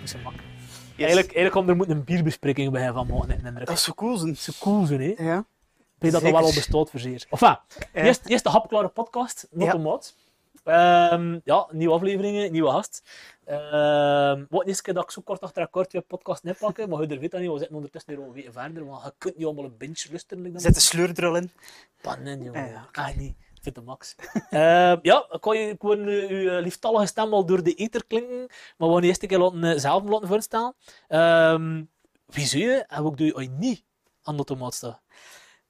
op zijn mak. Yes. Eigenlijk, eigenlijk om er moet een bierbespreking bij van mogen in indruk. Dat is zo cool, zijn. is cool zo, hè? Ik Ja. weet dat dat wel Zeker. al bestaat verzeer. Enfin, Ja. ah, eerst, eerst de hapklare podcast, not Ja. de maat. Ehm, ja, nieuwe afleveringen, nieuwe gast. Ehm wat is dat ik zo kort achter elkaar twee podcast net pakken, maar je weet dat niet, we zitten ondertussen hier al een week verder, want je kunt niet allemaal een binge lusten. like dat Zet de sleur er al in. Pannen, jongen. Ja, Ja, Echt niet. Ik vind de max. Eh, ja, ik kon je ik kon, eh, uw eh, lieftallige stem al door de ether klinken, maar we gaan eerst een keer laten, eh, zelf laten voorstellen. Ehm, wie zou je en wat doe je als je niet aan de automaat staat?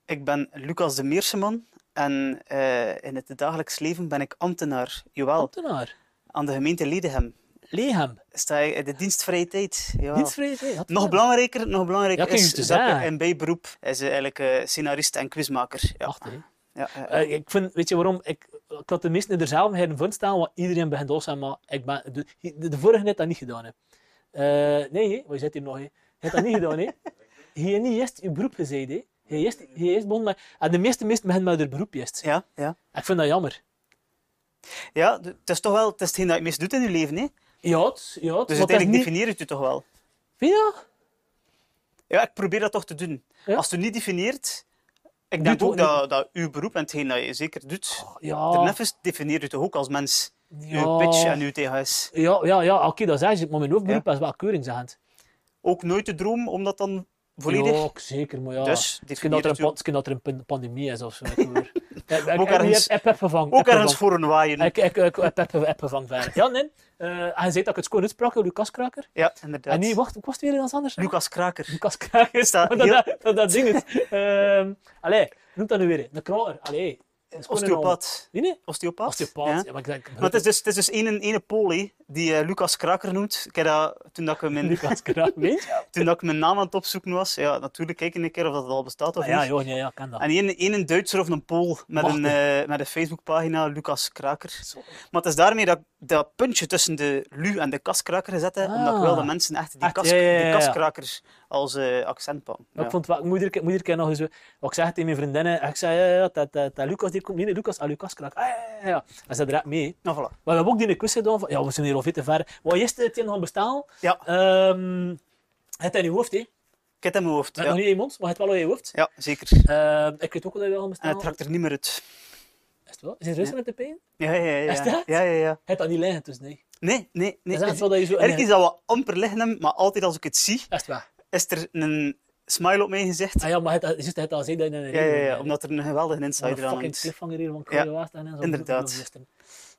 Ik ben Lucas de Meerseman en eh, in het dagelijks leven ben ik ambtenaar. Jawel, Ambtenaar. aan de gemeente Ledenhem. Lehem. Sta ik in de dienstvrije tijd. Jawel. Dienstvrij. hè? Had Nog het belangrijker, nog belangrijker Ja, ik ging is het dat ik zeggen. in bijberoep is eh, eigenlijk eh, scenarist en quizmaker. Ja. wel. Wacht, hè. Ja, ja, ja. Eh, ik vind, weet je waarom? Ik, ik had de meesten er zelf in van staan, want iedereen begint al zijn, maar ik ben, de, de, de vorige net dat niet gedaan. Hè. Eh, nee, hè, want je zit hier nog. Hè. Je hebt dat niet gedaan. Hè. Je hebt niet eerst je beroep gezegd. Hè. Je hebt eerst, je hebt eerst begonnen met, en de meeste mensen beginnen met hun beroep eerst. ja, ja. Ik vind dat jammer. ja d- het is toch wel het is hetgeen dat je het meest doet in je leven. Hè? Ja, het, ja, het, Dus maar dat is uiteindelijk niet... definieert het je toch wel. Ja, Ja, ik probeer dat toch te doen. Ja. Als het je niet definieert, ik Doe denk het ook ook dat, dat uw beroep en hetgeen dat je zeker doet, ja. Daarnaast definieert u toch ook als mens uw Oh. ja. pitch en uw THS. Ja, ja, ja oké, dat is eigenlijk, maar mijn hoofdberoep is wel keuringsagent. Ook nooit de droom om dat dan volledig. Ja, zeker, maar ja. Dus Misschien dat, er definieert een, u pan- misschien dat er een pan- pandemie is of zo. Ik, hoor. ik, ik, ik, ergens- ik- ik heb vervangen. ook ergens voor een waaien. Ik, ik, ik, ik heb, heb van verder. Ja, nee. Eh, en je zei dat ik het schoon uitsprak, Lucas Kraker. Ja, inderdaad. En nee, wacht, ik was het weer iets anders. Lucas Kraker. Lucas Kraker. Is dat Dat, heel- dat, dat, dat ding is. Ehm allee, noem dat nu weer. Een kraker. Allee. een schone naam. Osteopaat. Nee, nee. Osteopaat? Osteopaat. Ja. Ja, maar ik denk, Maar het is dus, het is dus ene, ene pol hè, die eh, Lucas Kraker noemt. Ik heb dat, toen, dat ik mijn, Lucas Kraker. Weet je? toen dat ik mijn naam aan het opzoeken was, ja, natuurlijk kijk ik een keer of dat al bestaat of Ah, Ja, niet. joh, ja, ja, ik ken dat. En één één Duitser of een Pool met Mag een, dat? eh, met een Facebookpagina, Lucas Kraker. Zo. Maar het is daarmee dat ik dat puntje tussen de lu en de kaskraker gezet heb, omdat ik Ah. wel de mensen echt die, Echt, kas, ja, ja, ja, die ja. kaskrakers als eh, accent pakken. Maar Ja. Ik vond het wel, ik moet iedere keer- ik moet iedere keer nog eens, eh, wat ik zeg tegen mijn vriendinnen, ik zei, ja, ja, ja, dat, dat, dat Lucas die komt, nee, nee, Lucas, ah, Lucas Kraker. Ah, ja, ja, ja. En ze direct mee. Nou, voilà. We hebben ook die quiz gedaan van, ja, we zijn hier al veel te ver. Wat is het in gaan bestaan? Ja. Ehm, het in je hoofd, hè. Het Ik heb het in mijn hoofd. is Ja, Nog niet in je mond, maar het wel in je hoofd. ja zeker. Ehm, ik weet ook wel dat je wel gaan En bestaan. het trakt er niet meer uit. Is het wel? Is het rustig met de pijn? Ja, ja, ja. Is ja. dat? Ja, ja, ja. Het dat niet liggen, dus nee. Nee, nee, nee. Dat is echt wel dat je zo... Erg is dat we amper liggen, hebben, maar altijd als ik het zie, Is het wel? is er een smile op mijn gezicht. Ah ja, maar het, het, het, het al zei dat je in een Ja, ja, ja, omdat er een geweldige insider aan fucking hangt. cliffhanger hier van Ja, Kruijwaard en zo. inderdaad.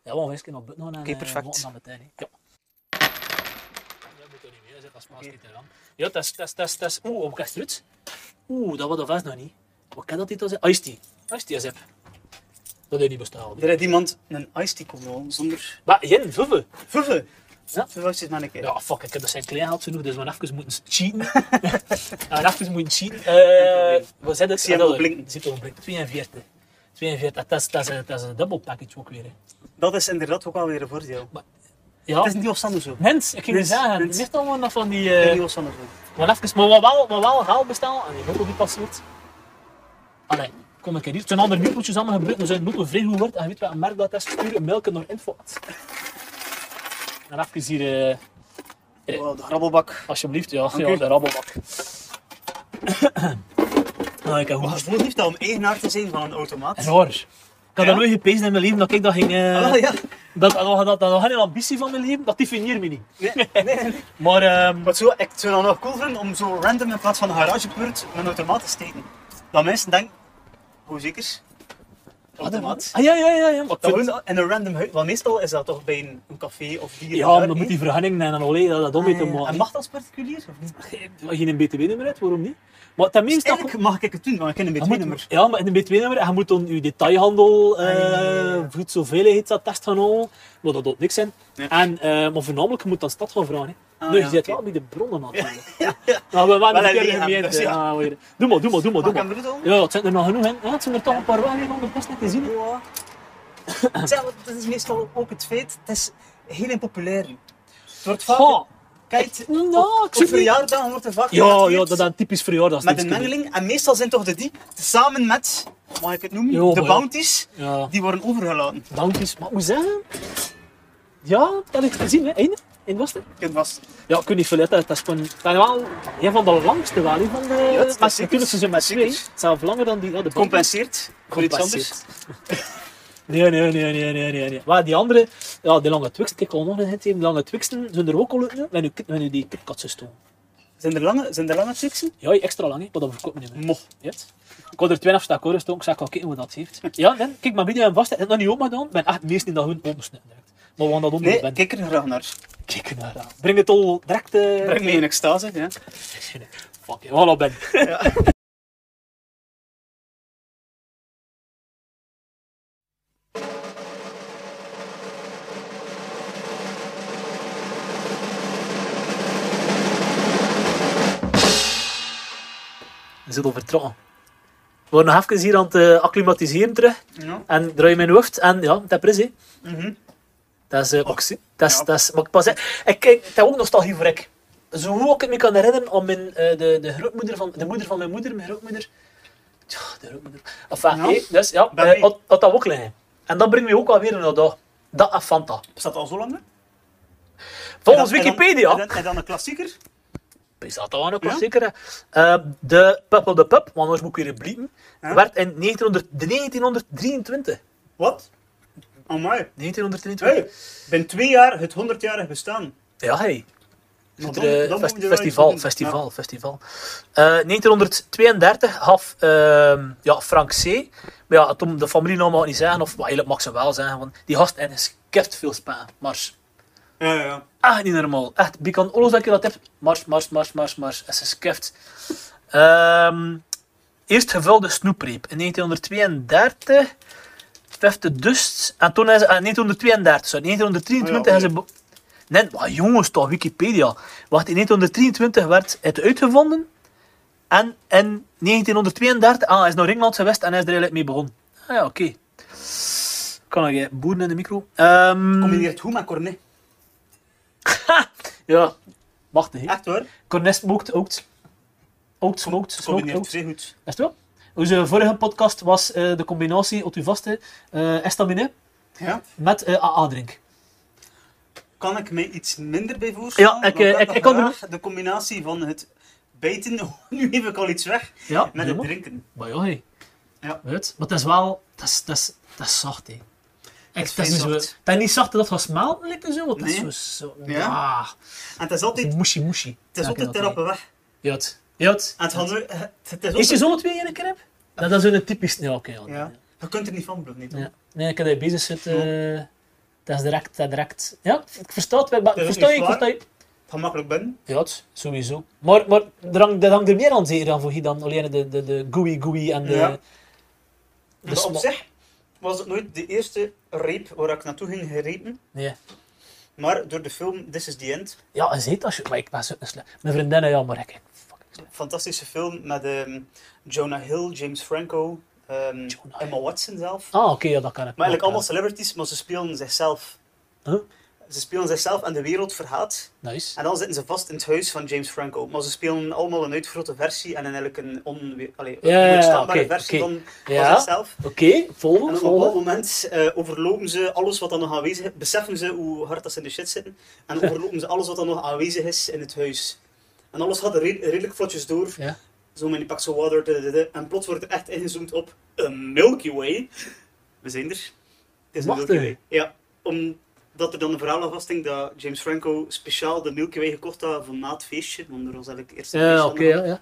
Ja, want we gaan op buiten gaan en Oké, eh, perfect. morgen dan meteen. hè. Ja. Dat moet er niet meer zijn, als Maaskiet eraan. Ja, dat is, dat is, dat is, dat is. Oeh, op kastruut. Oeh, dat was dat vast nog niet. Ah, Wat kan dat dit al zijn? Ice tea. Ice tea, Zep. Dat is niet bestaan. Er heeft iemand een iced tea komen halen, zonder... Maar Jen, vuve. Vuve! Ja. Vuve, wacht eens maar een keer. Ja, fuck, ik heb dat zijn klein gehad genoeg, dus we gaan even moeten cheaten. we gaan even moeten cheaten. Eh we zetten het. zie hem Ah, al dat- blinken. Zit al blinken. 42. 42, dat is, dat is, een- dat is een double package ook weer. Hè. Dat is inderdaad ook wel weer een voordeel. Ja. Het is niet afstandig zo. Mens, ik ging Mens, het zeggen, mens. het ligt allemaal nog van die... Het is eh niet afstandig zo. maar even, maar wat wel, wat wel geld bestellen, Ah, en die notel die passeert. Allee, kom een keer hier. Het zijn andere nuppeltjes allemaal gebruikt, maar zijn notel vrij goed wordt. En je weet wat een merk dat is, stuur een melk naar info. En even hier, eh, Wauw, de grabbelbak. alsjeblieft, ja, u. ja de rabbelbak. nou, ik heb goed Wat een gevoel heeft dat om eigenaar te zijn van een automaat? Raar. Ik had Ja? dat nooit gepezen in mijn leven, dat ik dat ging... eh, Ah, wel, ja. dat, dat, dat, dat, was geen ambitie van mijn leven, dat definieert me niet. Nee, nee, nee, nee. Maar... ehm, Wat zo, ik zou dat nog cool vinden om zo random in plaats van een garagebeurt een automaat te steken. Dat mensen denken, hoe zeker? Automaat. Ah, ja, ja, ja. ja. Maar Dat gewoon in een random huis, want meestal is dat toch bij een, een café of hier. Eh, ja, maar dan moet die vergunning en dan olé, dat, dat om mee te Ah, En maken. mag dat als particulier of niet? Als je een BTW-nummer hebt, waarom niet? Maar tenminste... dat- Eigenlijk mag ik het doen, want ik ken een je moet- BTW-nummer. Ja, maar in een BTW-nummer, je moet dan je detailhandel, eh Ah, ja, ja, ja. voedselveiligheidsattest gaan halen, maar dat doet niks in. Ja. En, eh, maar voornamelijk, je moet dan stad gaan vragen. hè. Ah, nu, je ja, zit oké. wel bij de bronnen natuurlijk. Nou, we waren Wel een keer een in de lichaam, gemeente. dus ja. Ah, weer. Doe maar, doe maar, doe maar. Doe Mag ik maar. hem bedoelen? Ja, het zijn er nog genoeg in. Ja, het zijn er toch een paar wel hier ondertussen net te zien. hè. Ja. Ik zeg, want dat is meestal ook het feit, het is heel impopulair. Het wordt vaak... Goh. Kijk, het- Nou, ik op, zie op het niet. verjaardagen wordt er vaak Ja, gereageerd ja, dat is een typisch verjaardagsdingetje. met een mengeling. En meestal zijn toch de die, samen met, mag ik het noemen, Jo, de maar ja. bounties, Ja. die worden overgelaten. Dankjes, maar ik moet zeggen. Ja, dat heb ik gezien, hè? Eén, in was het? Kind was. Ja, ik weet niet veel uit. Dat is gewoon, dat is wel een van de langste wel. hè, Van de, dat is maar zeker. natuurlijk ze zijn met twee. Zeker. Het is zelfs langer dan die. Ja, de band- Compenseert voor iets Compenseert. anders. Nee, nee, nee, nee, nee, nee, nee. Maar die andere, ja, die lange twixen, ik al nog een hint geven. Die lange twixen zijn er ook al uit nu, met nu, met nu die kipkatsen doen. Zijn er lange, zijn er lange chicsen? Ja, extra lang, hè, maar dat verkoopt niet meer. Moch. Yes. Ik had er twee afstakkoren staan, ik zag wel kijken hoe dat heeft. Ja, nee, kijk, mijn video en vast, en nog niet open gedaan. Ik ben echt meest in dat hun opensnijden direct. Maar we gaan dat onder Nee, nee, ik kijk er graag naar. Kijk naar aan. Breng het al direct... eh, Breng me in extase. Ja. Fuck, yeah, voilà, Ben. Je zit al vertrokken. We waren nog even hier aan het eh, acclimatiseren terug. Ja. En draai mijn hoofd en ja, dat is hè. Mhm. Dat is... eh, Oxy. dat is, Ja. dat is, maar ik pas, ik, ik, ik heb ook nostalgie voor ik. Zo hoe ik het me kan herinneren om mijn, eh, de, de grootmoeder van, de moeder van mijn moeder, mijn grootmoeder. Tja, de grootmoeder. Enfin, Ja. hé, dus ja, Ben eh, mee. had, had dat ook liggen. En dat brengt me ook alweer naar dat, dat Afanta. Bestaat al zo lang? hè? Volgens En dan- Wikipedia. En dan, en dan een klassieker? Is dat dan ook Ja. wel zeker? hè. Eh, de Puppel de Pup, want anders moet ik weer bliepen, Ja. werd in 1900, 1923. Wat? Amai. 1923. Hey, binnen twee jaar het 100-jarig bestaan. Ja, hey. Maar Zit dan- er, eh, dan fest- moet je wel festival, iets doen. festival, festival. Eh, 1932 gaf ehm, ja, Frank C. Maar ja, toen de familie nou mag niet zeggen, of maar eigenlijk mag ze wel zeggen, want die gast is keert veel spaan. Mars. Ja, ja, ja. Echt niet normaal. Echt, ik kan alles dat je dat hebt. Mars, mars, mars, mars, mars. En ze is keert. Ehm, eerst gevulde snoepreep. In 1932 vefte dust. En toen is, eh, 1932, sorry. 1923 Ah, is ja, ze... be- Nee, maar jongens, toch, Wikipedia. Wacht, in 1923 werd het uitgevonden. En in 1932, ah, hij is naar Engeland geweest en hij is er eigenlijk mee begonnen. Ah ja, oké. Kan ik eh, boeren in de micro? Ehm, Combineert hoe met Cornet. ja, wacht hè. Echt hoor. Cornet smoked ook. Ook smoked, smoked Combineert ook. zeer goed. Is het wel? Onze vorige podcast was eh, de combinatie, op uw vaste, eh estaminet Ja. met eh AA-drink. Kan ik mij iets minder bij voorstellen? Ja, ik, Want eh, had ik- nog ik kan er- graag De combinatie van het bijten, nu heb ik al iets weg, Ja, met het helemaal. drinken. Maar ja, hé. Ja. Weet? Maar dat is wel... Dat is, dat is, dat is zacht, hé. Dat is, vrij niet zo- zacht. dat is niet zacht, dat was smelten, lijkt en zo. want Dat Nee. is zo... zo Ja. ja. En het is altijd, Moeshi, moeshi. het is altijd ter therapie. rappe weg. Jot. Jot. En het gaat nu- het- het is Is je altijd- zo'n twee in een keer hebt? Dat dat is een typisch... Ja, oké. ja. Ja. Je kunt er niet van, bro. Niet. Ja. Nee, ik heb daar bezig zitten. eh, dat is direct, dat is direct. Ja, ik versta het wel. maar Dat is Versta ook je, ik niet versta je. Het gaat makkelijk binnen. Ja, het- sowieso. Maar, maar er hangt, dat hangt er meer aan zeker aan voor je dan alleen de, de, de gooey gooey en de... Ja. de Maar Dus op sma- zich was het nooit de eerste reep waar ik naartoe ging gerepen. Nee. Maar door de film This is the End, Ja, een zeet als je... Maar ik ben zo een slecht. Mijn vriendinnen, ja, maar ik... Fucking slecht. fantastische film met ehm, Jonah Hill, James Franco, ehm, Jonah Hill. Emma Watson zelf. Ah, oké, ja, dat kan ik. Maar Ja. eigenlijk allemaal celebrities, maar ze spelen zichzelf. Huh? Ze spelen zichzelf en de wereld verhaat. Nice. En dan zitten ze vast in het huis van James Franco. Maar ze spelen allemaal een uitvergrote versie en een eigenlijk een onwe- allee, Ja, ja, ja, onweerstaanbare oké, versie oké. van, van Ja. zichzelf. Oké, En volgen, op een bepaald volgen. moment eh, overlopen ze alles wat dan nog aanwezig is. Beseffen ze hoe hard dat ze in de shit zitten. En overlopen ze alles wat dan nog aanwezig is in het huis. En alles gaat re- redelijk vlotjes door. Ja. Zo met die pak zo water. da, da, da. En plots wordt er echt ingezoomd op een Milky Way. We zijn er. Het is een Wacht Milky even. Way. Ja, omdat er dan een verhaal aan vasthing dat James Franco speciaal de Milky Way gekocht had van na het feestje. Want er was eigenlijk eerst een feestje Ja, aan oké, de hand. ja, ja.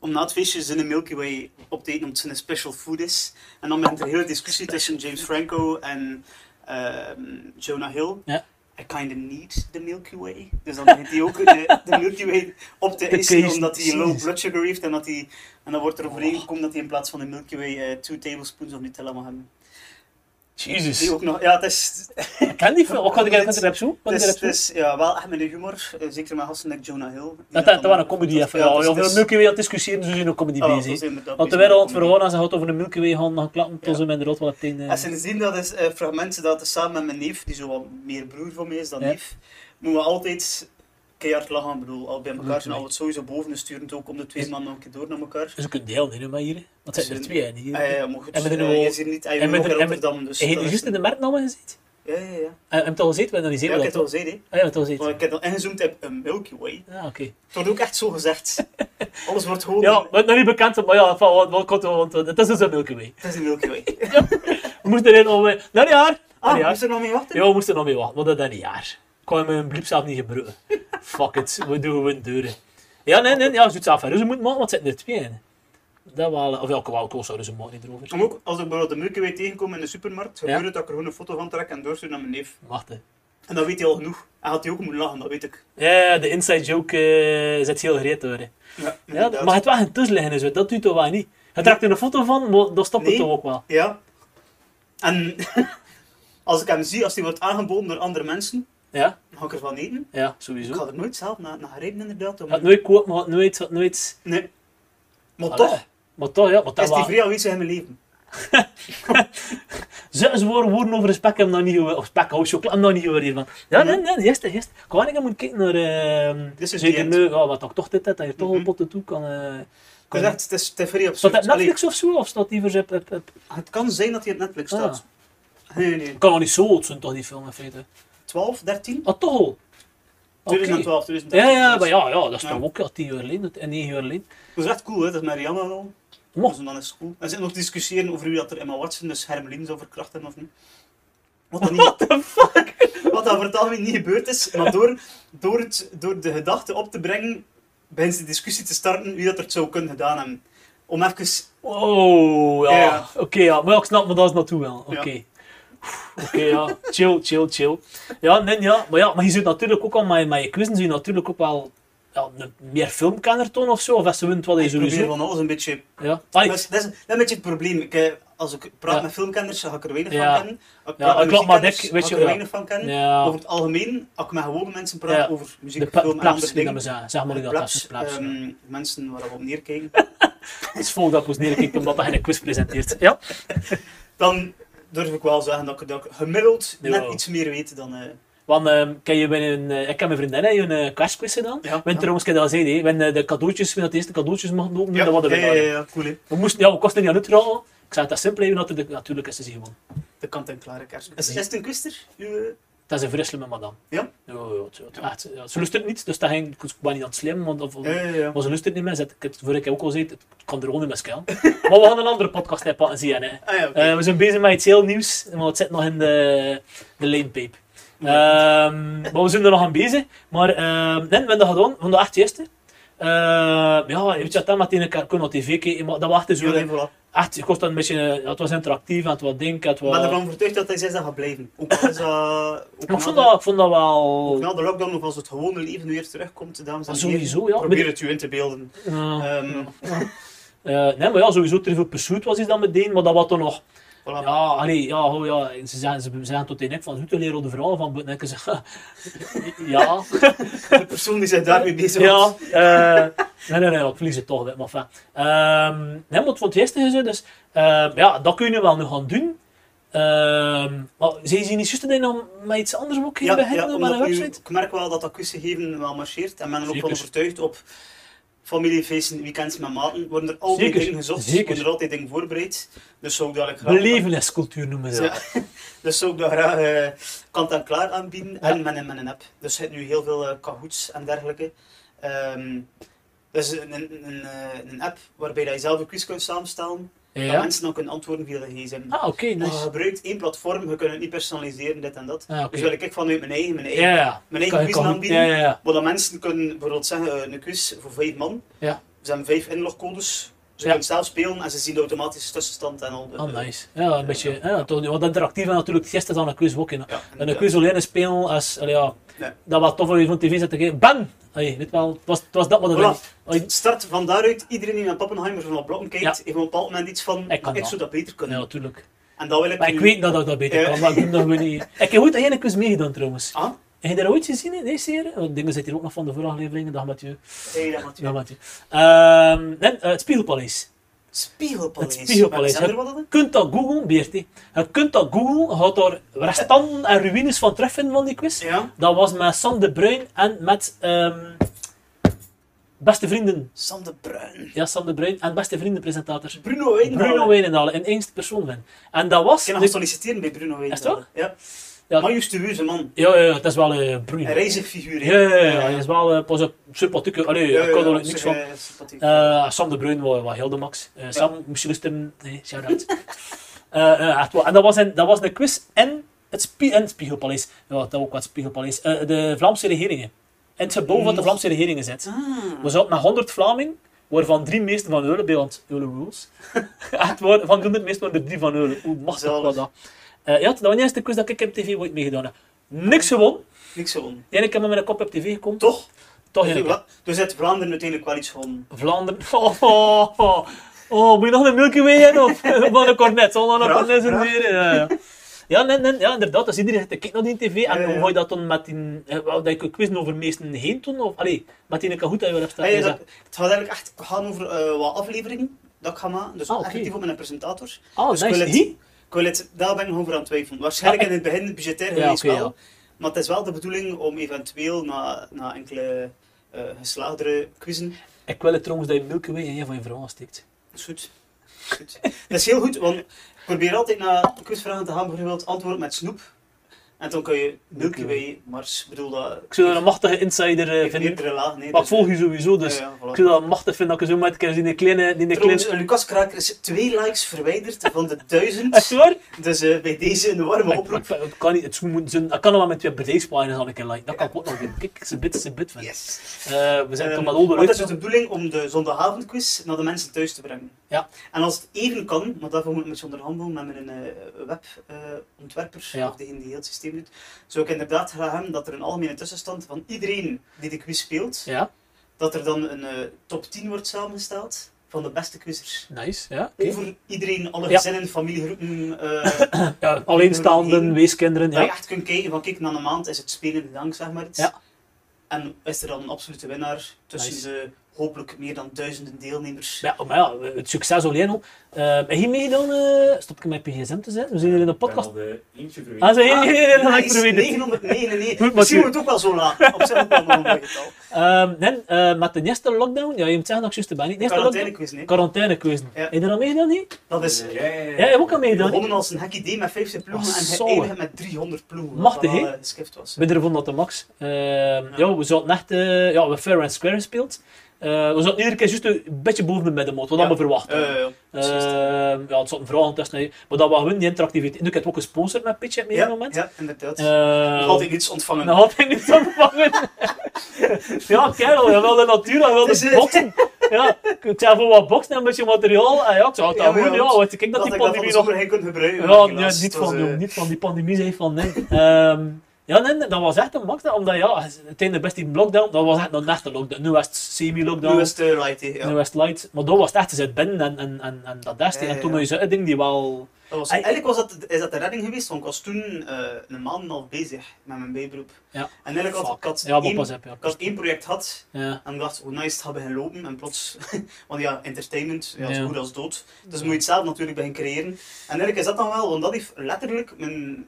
Om na het feestje zijn een Milky Way op te eten omdat het een special food is. En dan begint er een hele discussie tussen James Franco en ehm, Jonah Hill. Ja. I kinda need the Milky Way. Dus dan begint hij ook de, de Milky Way op te De eten case- omdat hij low Jezus. Oh. blood sugar heeft. En, dat hij, en dan wordt er overeengekomen dat hij in plaats van de Milky Way eh, two tablespoons of Nutella mag hebben. Die Jezus. ook nog, ja, het is, Ik ken die film. Wat kan ik Dit- eigenlijk erop zoeken? Kan het ik is, erop het zoeken? is ja, wel echt met de humor. eh, Zeker met gasten like Jonah Hill. Die Dat dan- dat was een comedy even. Ja, het is- ja, het is- we Milky Way aan het discussiëren, dus we zijn een comedy Ah, wel, het bezig. is inderdaad Want de bezig met wereld comedy. verhoorn en ze gaat over de Milky Way gaan, gaan klappen, tot Ja. ze met de rot wat in... eh, En sindsdien, dat is eh, fragmenten dat is samen met mijn neef, die zo wat meer broer van mij is dan Ja. neef, moeten we altijd keihard lachen. Ik bedoel, al bij elkaar zijn, Natuurlijk. al het sowieso boven, dus sturen het ook om de twee man nog een keer door naar elkaar. Dat is ook een deel, nee, maar hier. Want het zijn er twee, hè, hier. Ah, ja, ja, maar goed, En we doen eh, wel- je ziet niet, en en we we ook in doen- en we- Rotterdam, dus... Heb je die dat is- juist in de merknamen gezien? Ja, ja, ja. Eh, Heb je het al gezien? We Ja, analyseren ik heb dat. het al gezegd, toch? hè. Ah, ja, we hebben het al gezien. Maar ik heb al ingezoomd op een Milky Way. Ja, oké. Het wordt ook echt zo gezegd. Alles wordt gewoon... Ja, wat nog niet bekend, is, maar ja, van, wat, wat komt er, want eh, het is dus een Milky Way. Het is een Milky Way. We moesten erin om... eh, Naar een jaar! Naar Ah, een ja. jaar. moest er nog mee wachten? Ja, we moesten er nog mee wachten, want dat is een jaar. Ik kon mijn bliep zelf niet gebruiken. Fuck it, we doen gewoon deuren. Ja, nee, nee, ja, je doet zelf een ruzie moeten maken, want het zitten er twee in. Dat wel, eh, of ja, ik wou ook ruzie maken, niet erover. Om ook, als ik bijvoorbeeld de Milky Way tegenkom in de supermarkt, gebeurt het dat ik er gewoon een foto van trek en doorstuur naar mijn neef. Wacht, hè. En dan weet hij al genoeg. Hij had hij ook moeten lachen, dat weet ik. Ja, de inside joke eh, zit heel gereed door. hè. Ja, Ja, inderdaad. maar het wel geen tussenliggen is, hè. dus dat doet toch wel niet. Je trekt er een foto van, maar dan stopt het Nee. toch ook wel. Ja. En als ik hem zie, als hij wordt aangeboden door andere mensen, Ja, dan ga ik ervan eten. ja, Ik sowieso. ga er nooit zelf naar, naar rijden, inderdaad. om- Had nooit kopen, had nooit, had nooit... Nee. Maar Allee. toch Maar toch, ja, maar dat is die wel... vrij aanwezig in mijn leven. Zes woorden, woorden over een spek hebben we nog niet gehoord. Of spek, oh, of chocola, hebben we nog nou niet gehoord hiervan. Ja, nee, nee, gisteren, gisteren. Ik wou niet moeten kijken naar... ehm This is the zeker end. nu, ja, wat ik toch dit heb, dat je toch Mhm. op potten toe kan... eh Ik kan- dacht, het is te vrij op Staat dat op Netflix of zo, of staat die voor... op- op- op- Het kan zijn dat hij op Netflix Ah. staat. Nee, nee. Ik kan wel niet zo oud zijn, toch, die film, in feite. 12, 13? Ah, toch al? Oké. 2012, 2013. Ja, ja, maar ja, ja, dat is Ja. toch ook al tien jaar geleden, en negen jaar geleden. Dat is echt cool, hè? dat is Marianne al. Mocht. Dus dan is het cool. En ze nog discussiëren over wie dat er Emma Watson, dus Hermelien zou verkrachten of niet. Wat dan niet, the fuck? wat dan vertaal niet gebeurd is, maar door, door, het, door de gedachte op te brengen, begint ze de discussie te starten wie dat er het zou kunnen gedaan hebben. Om even... Oh, ja. Ja, ja. Oké, ja. Maar ja, ik snap me daar eens naartoe wel. Oké. Ja. Oef, Oké, ja. Chill, chill, chill. Ja, nee, ja. Maar ja, maar je zult natuurlijk ook al met, met je quizzen, zul je natuurlijk ook wel ja, een- meer filmkenner tonen of zo. Of als ze wint, wat je Ik probeer sowieso... van alles een beetje... Ja. Allee, Dat is, dat is- dat is een beetje het probleem. Ik, eh, als ik praat Ja. met filmkenners, dan ga ik er weinig Ja. van kennen. Als ik Ja, praat met ik klap maar muziekkenners, dik, weet ga je, ik er ja. weinig van kennen. ja, Over het algemeen, als ik met gewone mensen praat Ja. over muziek, de, pla- film en plaats, andere die dat we dingen... zeggen. Zeg maar de dat, plaats, plaats, plaats. ja. ehm, mensen waar we op neerkijken. Het is vol dat ik ons neerkijkt omdat hij een quiz presenteert. Ja. dan durf ik wel zeggen dat ik, dat ik gemiddeld Ja. net iets meer weet dan... eh Want ehm, ken je bij een, eh, ik heb mijn vriendin hè, een eh, kerstquiz gedaan. We ja, hebben trouwens, ik heb dat gezegd, hè, we hebben, eh, de cadeautjes, we hadden eerst de cadeautjes mochten openen, dat hadden we ja, gedaan, ja, hè. ja, cool hè. We moesten, ja, we kosten niet aan uitrollen. Ik zei dat simpel even, dat er de- natuurlijk is ze gewoon. De kant-en-klare kerst. Is, Nee. is het een kwister? Uw- eh, Dat is een verrisselen met madame. Ja? Ja, ja, ja, het- het- echt, ja, ze lust het niet, dus dat ging, ik was niet aan het slim, want, of, Ja, ja, ja. maar ze lust het niet meer. Zet- Ik heb het vorige keer ook al gezegd, het kan er gewoon niet meer schuilen. maar we gaan een andere podcast hebben en zien. Hè. Ah ja, oké. Eh, we zijn bezig met iets heel nieuws, maar het zit nog in de, de lanepape. Ehm, maar we zijn er nog aan bezig. Maar ehm, nee, we hebben dat gedaan, we hebben dat echt eerste. ja, je weet je, dat meteen een keer kunnen op tv kijken, maar dat was echt zo. ja, nee, voilà. Echt, ik was dan een beetje, eh, ja, het was interactief en het was denk het Ik ben was... ervan overtuigd dat hij zes dagen gaat blijven. Ook al is dat... Ook Maar ik, na vond de- dat, ik vond dat ook wel... na de lockdown, of als het gewone leven weer terugkomt, dames en Maar heren. Ah, sowieso, ja. Ah. Probeer het u in te beelden. Ja. Ehm, Eh, nee, maar ja, sowieso Trivial Pursuit was iets dat met deden, maar dat was toch nog... voilà. Ja, allee, ja, oh, ja. Ze zijn, ze zijn tot in ik van, zoet een leren de verhaal van Butten. En ik zeg, ja, De persoon die zich daarmee bezig ja. was. eh, nee, nee, nee, ik verlies het toch weer, maar fijn. Ehm, nee, maar het vond het eerste gezegd, dus... ehm, ja, dat kun je wel nu gaan doen. Ehm, maar zijn ze niet juist dat je dan met iets anders ook ging beginnen met een omdat u- website? Ik merk wel dat dat kussengeven wel marcheert. En men er ook Zeker. wel overtuigd op familiefeesten, weekends met maten. Worden er altijd Zeker, dingen gezocht, zeker. worden er altijd dingen voorbereid. Dus zou ik dat graag... Beleveniscultuur noemen ze dat. Ja. Dus zou ik dat graag eh, kant-en-klaar aanbieden. En met een, met een app. Dus je hebt nu heel veel eh kahoots en dergelijke. Ehm dus een, een, een, eh, een app waarbij dat je zelf een quiz kunt samenstellen. Dat mensen dan kunnen antwoorden via de gsm. Ah, oké, Maar nice. je gebruikt één platform, je kunt het niet personaliseren, dit en dat. Ah, oké. Dus wil ik vanuit mijn eigen, mijn eigen Ja, ja. mijn eigen Kan- quiz kan- aanbieden. Ja, ja, ja. Maar dat mensen kunnen bijvoorbeeld zeggen, eh, een quiz voor vijf man. Ja. Ze hebben vijf inlogcodes. Ze Ja. kunnen zelf spelen en ze zien de automatische tussenstand en al. de- Ah, nice. Ja, een beetje. Ja, toch, wat interactief en natuurlijk gisteren aan een quiz ook in. Ja, En een quiz alleen spelen als, allee, ja, Ja. dat was tof om je van tv zat te kijken. Bam! Allee, weet wel, het was, het was dat wat Voilà. het was. Start van daaruit, iedereen die naar Pappenheimer van blokken kijkt, Ja. heeft op een bepaald moment iets van, Ik ik, kan dat. zou dat beter kunnen. Ja, natuurlijk. En dat wil ik Maar ik nu- weet dat ik dat beter Ja. kan, maar ik doe dat gewoon niet. Ik heb ooit aan één quiz meegedaan trouwens. Ah, Heb je dat ooit gezien in deze serie? Want dingen zitten hier ook nog van de vorige afleveringen. Dag Mathieu. zei je dat Ja, natuurlijk. Mathieu. Ehm, nee, eh, het Spiegelpaleis. Spiegelpaleis. Het Spiegelpaleis, Zijn er wat aan? Je kunt dat googlen, Beert. hè. Je kunt dat googlen. Je gaat daar restanten en ruïnes van terugvinden van die quiz. Ja. Dat was met Sam de Bruin en met ehm, Beste Vrienden. Sam de Bruin. Ja, Sam de Bruin en Beste Vrienden presentator. Bruno Wijnhalen. Bruno Wijnendalen, in eerste persoon ben. En dat was... Ik kan de- nog solliciteren bij Bruno Wijnhalen. Echt waar? Ja. Ja. Majestueuze man. Ja, ja, ja, het is wel eh broeiend. Een rijzig figuur. hè. Ja, ja, ja, ja, het is wel eh, pas op sympathieke. Allee, Ja, ik kan er ja, niks ze- van. eh, sympathiek. Eh, Sam de Bruin was, was heel de max. Eh, Sam, moest je luisteren. Nee, shout-out. Eh, eh, echt wel. En dat was, een, dat was een quiz en het, spie en het Spiegelpaleis. Ja, dat ook wat Spiegelpaleis. Eh, de Vlaamse regeringen. In het gebouw van de Vlaamse regeringen zit. Ah. We zaten met 100 Vlamingen, waarvan drie meesten van Eulen, Beland Eulen Rules. Echt waar, van 100 meesten waren er drie van Eulen. Hoe machtig Zalig. was dat? Eh, ja, dat was de eerste quiz dat ik op tv ooit meegedaan heb. Niks gewonnen. Niks gewonnen. Eén keer met een kop op tv gekomen. Toch? Toch één keer. Dus het Vlaanderen uiteindelijk wel iets gewonnen. Vlaanderen. Oh, oh, oh. Oh, moet je nog een Milky Way hebben? Of van een cornet? Zal dan een Braaf, cornet zijn braaf. weer? Ja, ja. ja, nee, nee, ja, inderdaad. Als iedereen kijkt naar die tv, en Ja, ja. hoe ga je dat dan met die... eh, wou dat ik een quiz over meesten heen doen? Of, allee, met die goed dat je wel hebt staan. Hey, dat- het gaat eigenlijk echt gaan over eh, wat afleveringen dat ik ga maken. Dus Ah, oké. effectief op mijn presentator. Ah, Dus nice. ik wil het, Hier? ik wil het, daar ben ik nog over aan het twijfelen. Waarschijnlijk Ah, in het begin budgetair Ja, geweest oké, wel. ja. Maar het is wel de bedoeling om eventueel na, na enkele eh geslaagdere quizzen. Ik wil het trouwens dat je Milky Way in een van je vrouwen steekt. Dat is goed. Dat is goed. Dat is heel goed, want ik probeer altijd naar quizvragen te gaan, bijvoorbeeld antwoord met snoep. En dan kun je Milky Way, Mars, ik bedoel dat. Ik zou dat een machtige insider eh, ik vinden. meerdere lagen. nee, Maar ik dus- volg je sowieso, dus... Ja, ja, voilà. Ik zou dat machtig vinden dat ik zo met die een kleine... Die een Trouwens, kleine... Lucas Kraker is twee likes verwijderd van de Echt duizend. waar? Dus eh, bij deze een warme Ik, oproep. ik, het kan niet, het zou moeten zijn- dat kan nog wel met twee bedrijfspagina's aan een keer like. Dat kan ik ook nog doen. Kijk, ze bid, ze bid van. Yes. Eh, we zijn toch Ehm, maar older want het is uit. dus de bedoeling om de zondagavondquiz naar de mensen thuis te brengen. Ja. En als het even kan, maar daarvoor moet ik met je onderhandelen met mijn eh, web webontwerper, Ja. of degene die heel het systeem doet, zou ik inderdaad graag hebben dat er een algemene tussenstand van iedereen die de quiz speelt, Ja, dat er dan een eh, top 10 wordt samengesteld van de beste quizzers. nice. Ja, oké. Over iedereen, alle Ja. gezinnen, familiegroepen, eh ja, alleenstaanden, weeskinderen. Dat je Ja. echt kunt kijken van kijk, na een maand is het spelen dank, zeg maar iets. Ja. En is er dan een absolute winnaar tussen Nice. de hopelijk meer dan duizenden deelnemers. Ja, maar ja, het succes alleen al. Eh, heb je meegedaan? eh stop ik mijn gsm te zetten? We zijn hier in de podcast. Ik ben al de eentje verwijderd. Ah, ze Ah, nee, nee, nee, dat ga ik nice, verwijderen. 999. Goed, Misschien Mathieu. wordt het ook wel zo laat. Op zich ook wel nog een mooi getal. Ehm, nee, eh, met de eerste lockdown, ja, je moet zeggen dat ik juist erbij niet. De eerste Quarantaine lockdown, quiz, nee. quarantaine quiz. Ja. Heb je er al meegedaan? Nee? Dat is eh, Ah, dus, Ja, ja, ja. Ja, ik heb ook al meegedaan. begonnen als een hack idee met 50 ploegen Ah, en zo. geëindigd met 300 ploegen. Machtig, wat wel, hè? eh, geskift was. Binnen vond dat de max. Ehm, ja. we zaten echt, eh, ja, we fair and square gespeeld. Eh, we zaten iedere keer juist een beetje boven de middenmoot, wat Ja. allemaal verwacht. hadden. Eh, Ehm, ja, het zat een verhaal tussen. hè. Maar dat was gewoon die interactiviteit. Nu, ik heb ook gesponsord met Pitch op een ja, moment. ja, inderdaad. Ehm, Nog altijd iets ontvangen. nog altijd niet ontvangen. ja, kerel, je wil de natuur, je wil Dus, de eh, boksen. Ja, ik zei voor wat boksen en een beetje materiaal. En ja, ik zou het Ja, wel maar goed, ja, ja, want kijk dat dat die ik dat van pandemie de nog... zomer geen kon gebruiken. Ja, helaas. ja, niet, Het was, van, eh, jong, niet van die pandemie, zei van nee. Ehm, ja, nee, nee, dat was echt een max. hè, Omdat ja, het einde best die lockdown, dat was echt een echte lockdown. Nu was het semi-lockdown. Nu is het eh, light, hè, ja. Nu was het light, maar dat was het echt, ze zit binnen en, en, en, en dat destijds. Ja, ja, En toen ja. was het ding die wel... Dat was, Ei- eigenlijk was dat, is dat de redding geweest, want ik was toen eh, een maand en een half bezig met mijn bijberoep. Ja. En eigenlijk had Fuck. ik had Ja, maar één, pas op, ja. ik had één project had Ja, en ik dacht, hoe nice het gaat beginnen lopen. En plots, want ja, entertainment, ja, Ja. zo goed als dood. Dus moet je het zelf natuurlijk beginnen creëren. En eigenlijk is dat dan wel, want dat heeft letterlijk mijn,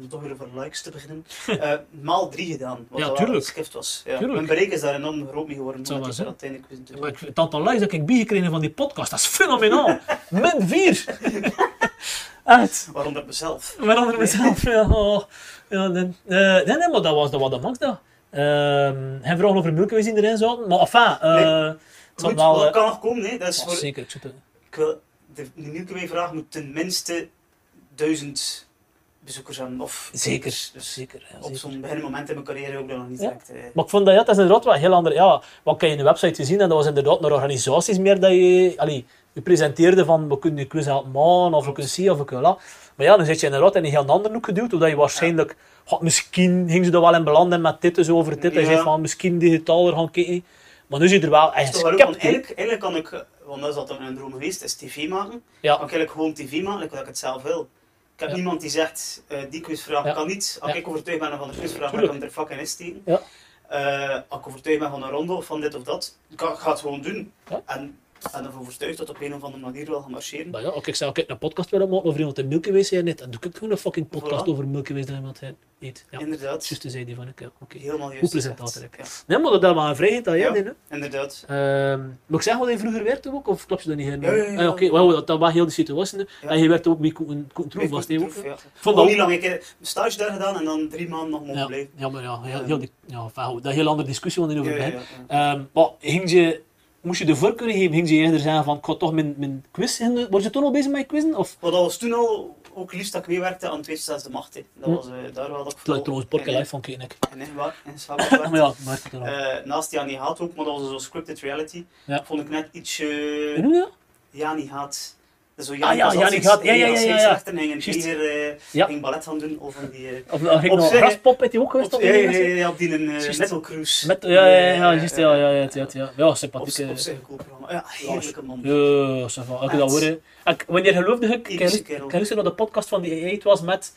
om toch weer over likes te beginnen, eh, maal drie gedaan. Wat Ja, wel tuurlijk. een skift was. Ja. Tuurlijk. Mijn bereik is daar enorm groot mee geworden. zou omdat wel ik zijn. uiteindelijk wist te doen. maar ik- het aantal likes dat ik bijgekregen heb van die podcast, dat is fenomenaal. Min vier. Echt. Waaronder mezelf. Waaronder mezelf. Ja, oh. ja, nee, Eh, nee, nee, maar dat was, dat was de max dat. Ehm geen verhaal over Milky Way zien erin zouden, maar enfin... eh, Nee. zal Goed, wel, maar eh, dat kan nog komen, hè. Dat is oh, voor- zeker, ik zit er- Ik wil, de, de Milky Way vraag moet tenminste duizend bezoekers hebben. Of Zeker, Dus zeker. ja, op zeker. zo'n beginmoment in mijn carrière ook dat nog niet Ja. direct. eh. Maar ah, ik vond dat, ja, dat is inderdaad wel heel ander. Ja, wat kan je in de website te zien? En dat was inderdaad naar organisaties meer dat je... Allee, je presenteerde van, we kunnen je quiz helpen maken, of we kunnen zien, of we kunnen dat. Maar ja, dan zit je inderdaad in een heel ander hoek geduwd, omdat je waarschijnlijk... goh, misschien gingen ze er wel in belanden met dit en zo over dit. En Ja. zei van, misschien digitaler gaan kijken. Maar nu zit je er wel Is echt toch wel ook, want geskipt in. eigenlijk, eigenlijk kan ik, eh, want dat is altijd mijn droom geweest, is tv maken. Ja. Kan ik eigenlijk gewoon tv maken, like dat ik het zelf wil. Ik heb Ja. niemand die zegt, eh, die quizvraag Ja. kan niet. Als Ja. ik overtuigd ben van de quizvraag, dan Tuurlijk. kan ik er fucking in steken. Ja. Eh, als ik overtuigd ben van een ronde of van dit of dat, ik ga, ik ga het gewoon doen. Ja. En En ervan overtuigd dat het op een of andere manier wel gaan marcheren. Maar ja, ook ik zou ook een podcast willen maken over iemand die Milky Way zei net. Dan doe ik gewoon een fucking podcast Voilà. over Milky Way dat iemand hij eet. Ja, Inderdaad. juist zei die van ik. Ja, oké. Helemaal juist. Goed presentator gezegd. heb Nee, maar dat dat maar een vrijheid aan jij Ja. deed, hè. Inderdaad. Ehm, moet ik zeggen wat hij vroeger werkte ook, of klopt je dat niet helemaal? Ja, ja, ja. Ah, Oké, wauw, dat, dat was heel de situatie. Ja. En je werkte ook bij Koen Koen Troef, Ik was kon- hij ook? troef, hè? ja. vond Gewoon dat niet lang. Ik heb een stage daar gedaan en dan drie maanden nog mogen Ja, blijven. ja, maar ja, heel, Ehm. heel die, ja, enfin, goed, dat is een heel andere discussie want over Ja, ja, begint. ja, ja. Ehm, maar ging je, moest je de voorkeur geven? Ging je eerder zeggen van, ik ga toch mijn, mijn quiz... doen? Was je toen al bezig met quizzen? Of Maar dat was toen al ook liefst dat ik meewerkte aan Tweede Zesde Macht. hè. Dat Hm. was eh, daar wel dat ik Het lijkt trouwens Porca Live van Keenek. En in werk, in samenwerking. Maar ja, maar het eraan. Eh, naast Jani Haat ook, maar dat was zo scripted reality. Ja. Vond ik net ietsje... Hoe noem je dat? Jani Haat. Dat is Zo Ah, ja, was als Jani iets- Haat. Ja, ja, als ja, ja, iets ja. rechter en ging Juist. hier eh, Ja. ging ballet gaan doen. Of van die... eh, Of nou, ging Op nog zich- Graspop met die ook geweest? op, op ja, die ja, mensen? ja, ja, op die eh, Juist. metal cruise. Met, ja, ja, Eh, ja, juist, ja, ja, ja, ja, ja. Ja, Op, op sympathieke... zich een cool programma. Ja, heerlijke man. eh, Ja, ja, ja, ça va. Ik heb dat hoor. hè. Ik, wanneer geloofde ik, ik Irische luister- kerel. ik luisterde naar de podcast van die AI, het was met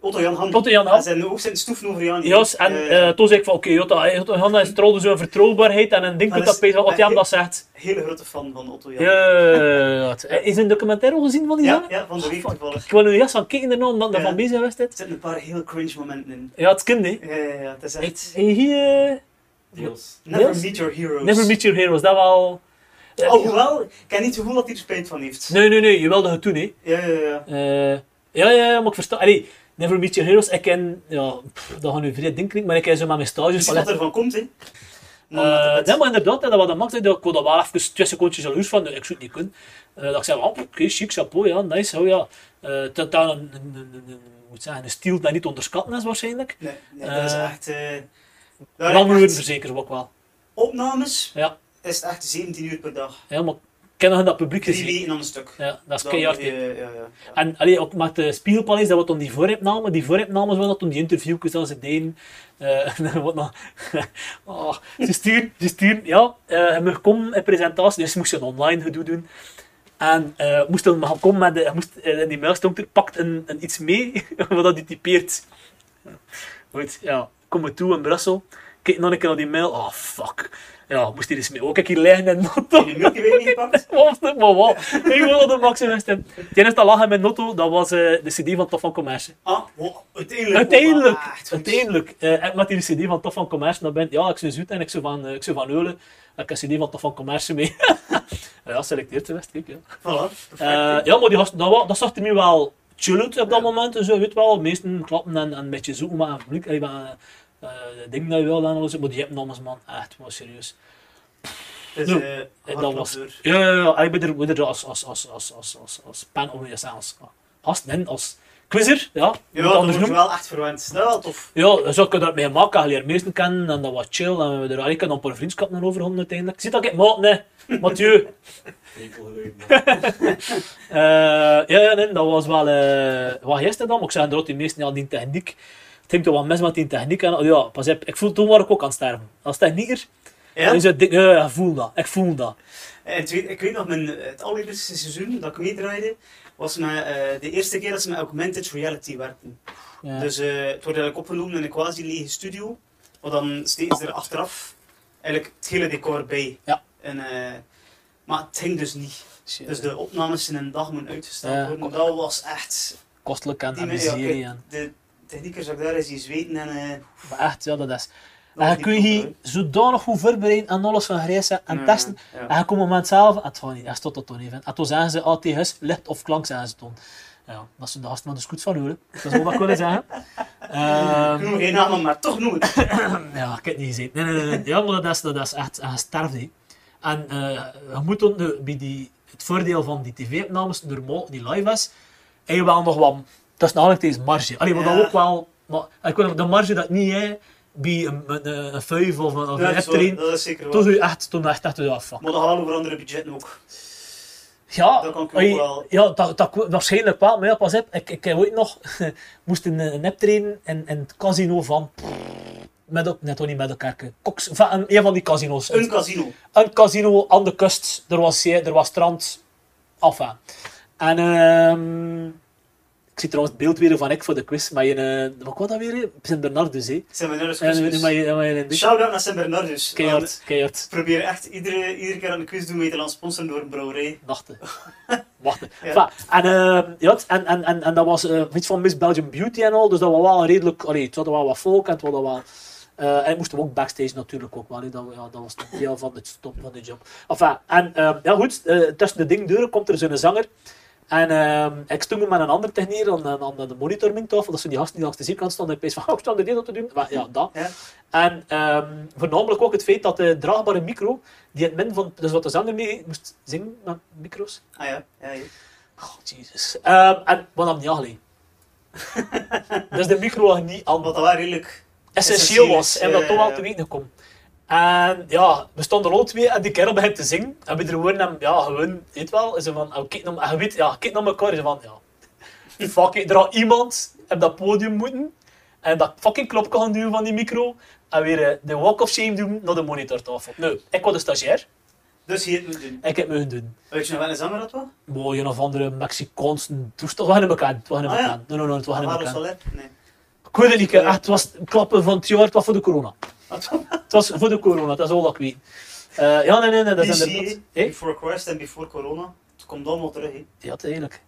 Otto Jan Ham. Otto Jan En Ham. zijn ook zijn stoeven over Jani. Jos, en Eh, eh, toen zei ik van oké, Jota, Jota Hanna is trouwens zo'n vertrouwbaarheid en een ding Maar dat dat dat is- bezig wat maar Jan dat zegt. Hele grote fan van Otto Jan. Ja, ja, ja. Is een documentaire al gezien van die ja, zanger? ja, van de week toevallig. Ik wil nu jas van kijken ernaar, omdat ik Ja. daarvan bezig was dit. Er zitten een paar heel cringe momenten in. Ja, het kind hè. Ja, ja, ja. Het is echt... Hey, hier, eh, Deels. Never Yes. meet your heroes. Never Meet Your Heroes, dat wel... Eh, Alhoewel, ik heb niet het gevoel dat hij er spijt van heeft. Nee, nee, nee, je wilde het doen hè. Ja, ja, ja. Eh, ja, ja, ja, maar ik versta. Allee, Never Meet Your Heroes, ik ken... Ja, pff, dat gaan nu vrij ding klinken, maar ik ken zo met mijn stages... Misschien Dus wat ervan komt, hè. Eh, nee, maar inderdaad, hè, dat wat dat maakt, hè, dat ik word daar wel even twee secondjes jaloers van, ik zou het niet kunnen. Eh, dat ik zei, oh, oké, chic, chapeau, ja, nice, oh ja. Eh, dat dat een, een, een, een- een- moet zeggen, een stiel dat niet te onderschatten is waarschijnlijk. Nee, nee, dat is Eh, echt... eh daar heb ik echt- Rammurenverzekers ook wel. Opnames Ja. is het echt 17 uur per dag. Ja, maar kennen dat publiek Drie gezien. weken aan een stuk. Ja, dat is Dan, keihard. hè. eh, ja, ja, ja. En allee, ook met de eh, Spiegelpaleis, dat wat dan die voorhebnamen, die voorhebnamen wel dat toen die interviewjes dat ze deden. eh, en wat nog. oh, ze sturen, ze sturen, ja, eh je mag komen in presentatie, dus ze moesten online gedoe doen. En eh moest dan maar komen met de, hij moest, eh, in die mail stond er, pakt een, een iets mee, wat dat die typeert. Goed, ja, kom me toe in Brussel, kijk nog een keer naar die mail, oh fuck. Ja, moest hier eens mee, ook ik hier liggen en Heb dat je de Milky Way meegepakt? Wat maar wat? Ik wil de maximum instemmen. Het enige dat lag in mijn notto, dat was eh, de CD van Tof van Commerce. Ah, wow, uiteindelijk. Uiteindelijk, Ah, echt goed. uiteindelijk. eh, en met die CD van Tof van Commerce, dan ben ja, ik zo zoet en ik zo van, eh, ik zo van Eulen. Ik heb een CD van Tof van Commerce mee. ja, selecteert de rest, kijk, ja. Oh, Voilà, perfect. Eh, ja, maar die gast, dat, wa- dat zag er nu wel chill uit op dat moment. en Zo, weet wel, meesten klappen en, en een beetje zoeken, maar een blik, eh, maar, eh, ding dat je wil en alles. Maar die hebben namens man, echt, maar serieus. dus, nou, eh, dat hard was- labeur. Ja, ja, ja. Ik ben er, ben er als, als, als, als, als, als, als pen of als, als gast in, als quizzer, ja. moet Ja, het dat anders wordt noemen. wel echt verwend. Dat is wel tof. Ja, zo kun je dat mee maken. Je leert meesten kennen en dat wat chill. En we hebben er eigenlijk een paar vriendschappen over gehad uiteindelijk. Zit dat ik maat, nee. Mathieu. Enkelgeluiden. Eh, ja, ja, nee, dat was wel... eh wat gisteren dan? Maar ik zei inderdaad, die meesten, ja, die techniek... Het ging toch wel mis met die techniek. En, ja, pas op. Ik voel, toen was ik ook aan het sterven. Als technieker, Ja? dan is het dik- ja, ja, ik voel dat. Ik voel dat. En het weet- ik weet nog, mijn, het allereerste seizoen dat ik meedraaide, was met, eh, de eerste keer dat ze met augmented reality werkten. Ja. Dus eh, het wordt eigenlijk opgenomen in een quasi-lege studio, maar dan steeds er achteraf eigenlijk het hele decor bij. Ja. En, eh, maar het ging dus niet. Dus de opnames zijn een dag moeten Ja, uitgesteld worden. Dat was echt... Kostelijk en, Die en me- ja, miserie. oké. en- De technieker zag daar eens die zweten en... eh, Maar echt, ja, dat is. En dat je liep kun je op, hier zodanig goed voorbereiden aan alles van grijzen en Ja, testen. ja. En je komt op het moment zelf, ah, het gaat niet, dat tot dat toch niet. En toen zeggen ze, ah, tegen huis, licht of klank, zeggen ze toen. Ja, dat zijn de gasten van de scoot van horen. Dat is ook wat ik willen zeggen. Ik Ehm, noem geen namen, maar toch noem het. ja, ik heb het niet gezien. Nee, nee, nee, nee. Ja, maar dat is, dat is echt, en je sterft, hè. En eh, je moet dan de- bij die, het voordeel van die tv-opnames, normaal, die live is, heb je wel nog wat, dat is namelijk deze marge. Allee, maar Ja. dat ook wel, maar ik wil de marge dat niet, hè, bij een, een, een vuif of een, of Ja, een dat, is heptereen. waar, dat is zeker Toen waar. zei je echt, toen dacht echt, ja, fuck. Maar dat gaat wel over andere budgetten ook. Ja, Dat kan ik ook oei, wel. ja dat, dat, waarschijnlijk wel. Maar ja, pas op, ik, ik heb ooit nog moest een, een optreden in, in het casino van... Met, el- nee, toch niet met elkaar. eh, Koks, van, een, een van die casino's. Een Een, casino. een casino aan de kust. eh, Er was zee, er was strand. Enfin. En ehm, Ik zie trouwens het beeld weer van ik voor de quiz, maar je, eh, wat kwam dat weer? Sint-Bernardus, hè? Sint-Bernardus En we- maar quiz. je, maar je een beetje... Shout-out Dus naar Sint-Bernardus. Want Keihard, keihard. Ik probeer echt iedere, iedere keer aan de quiz doen mee te laten sponsoren door een brouwerij. Wachten. Wachten. Ja. Enfin, en, eh, ja, het- en, en, en, en dat was eh, iets van Miss Belgium Beauty en al, dus dat was wel een redelijk... Allee, het hadden wel wat volk en het hadden wel... eh, en ik moest hem ook backstage natuurlijk ook wel, hè. dat, ja, dat was een deel van het stop van de job. Enfin, en eh, ja goed, eh, tussen de dingdeuren komt er zo'n zanger. En eh, ik stond me met een ander technier aan, aan, aan de monitormingtafel, dat zijn die gasten die langs de zijkant stonden en ik van, oh, ik sta er dit op te doen. Maar, ja, dat. Ja. En ehm, voornamelijk ook het feit dat de draagbare micro, die in het min van, dus wat de zanger mee moest zingen met micro's. Ah ja, ja, ja. Oh, jezus. Ehm, en wat nam niet alleen. dus de micro was niet aan Wat dat wel redelijk... essentieel was. Essentieel En is, dat toch wel eh, te weten gekomen. En ja, we stonden er al twee en die kerel begint te zingen. En we er gewoon hem, ja, gewoon, weet wel, ze van, oh, kijk naar, en je weet, ja, kijk naar elkaar, ze van, ja, fuck it, er had iemand op dat podium moeten en dat fucking klopje gaan duwen van die micro en weer eh, de walk of shame doen naar de monitortafel. Nou, ik was de stagiair, Dus hier het moet doen. ik heb me doen. Weet je nog wel een zanger dat was? Mooi, een of andere Mexicaanse toestel, we gaan hem bekend, we gaan hem Ah, ja. bekend. Nee, nee, nee, we gaan hem Alvaro bekend. Soler? Nee. Ik weet het niet, echt, het was het klappen van het jaar, het was voor de corona. Wat was Het was voor de corona, dat is al dat ik weet. Eh, ja, nee, nee, nee, dat is BC, inderdaad... hè? Hé? Before Christ en Before Corona. Het komt allemaal terug, hè. Ja, het eigenlijk.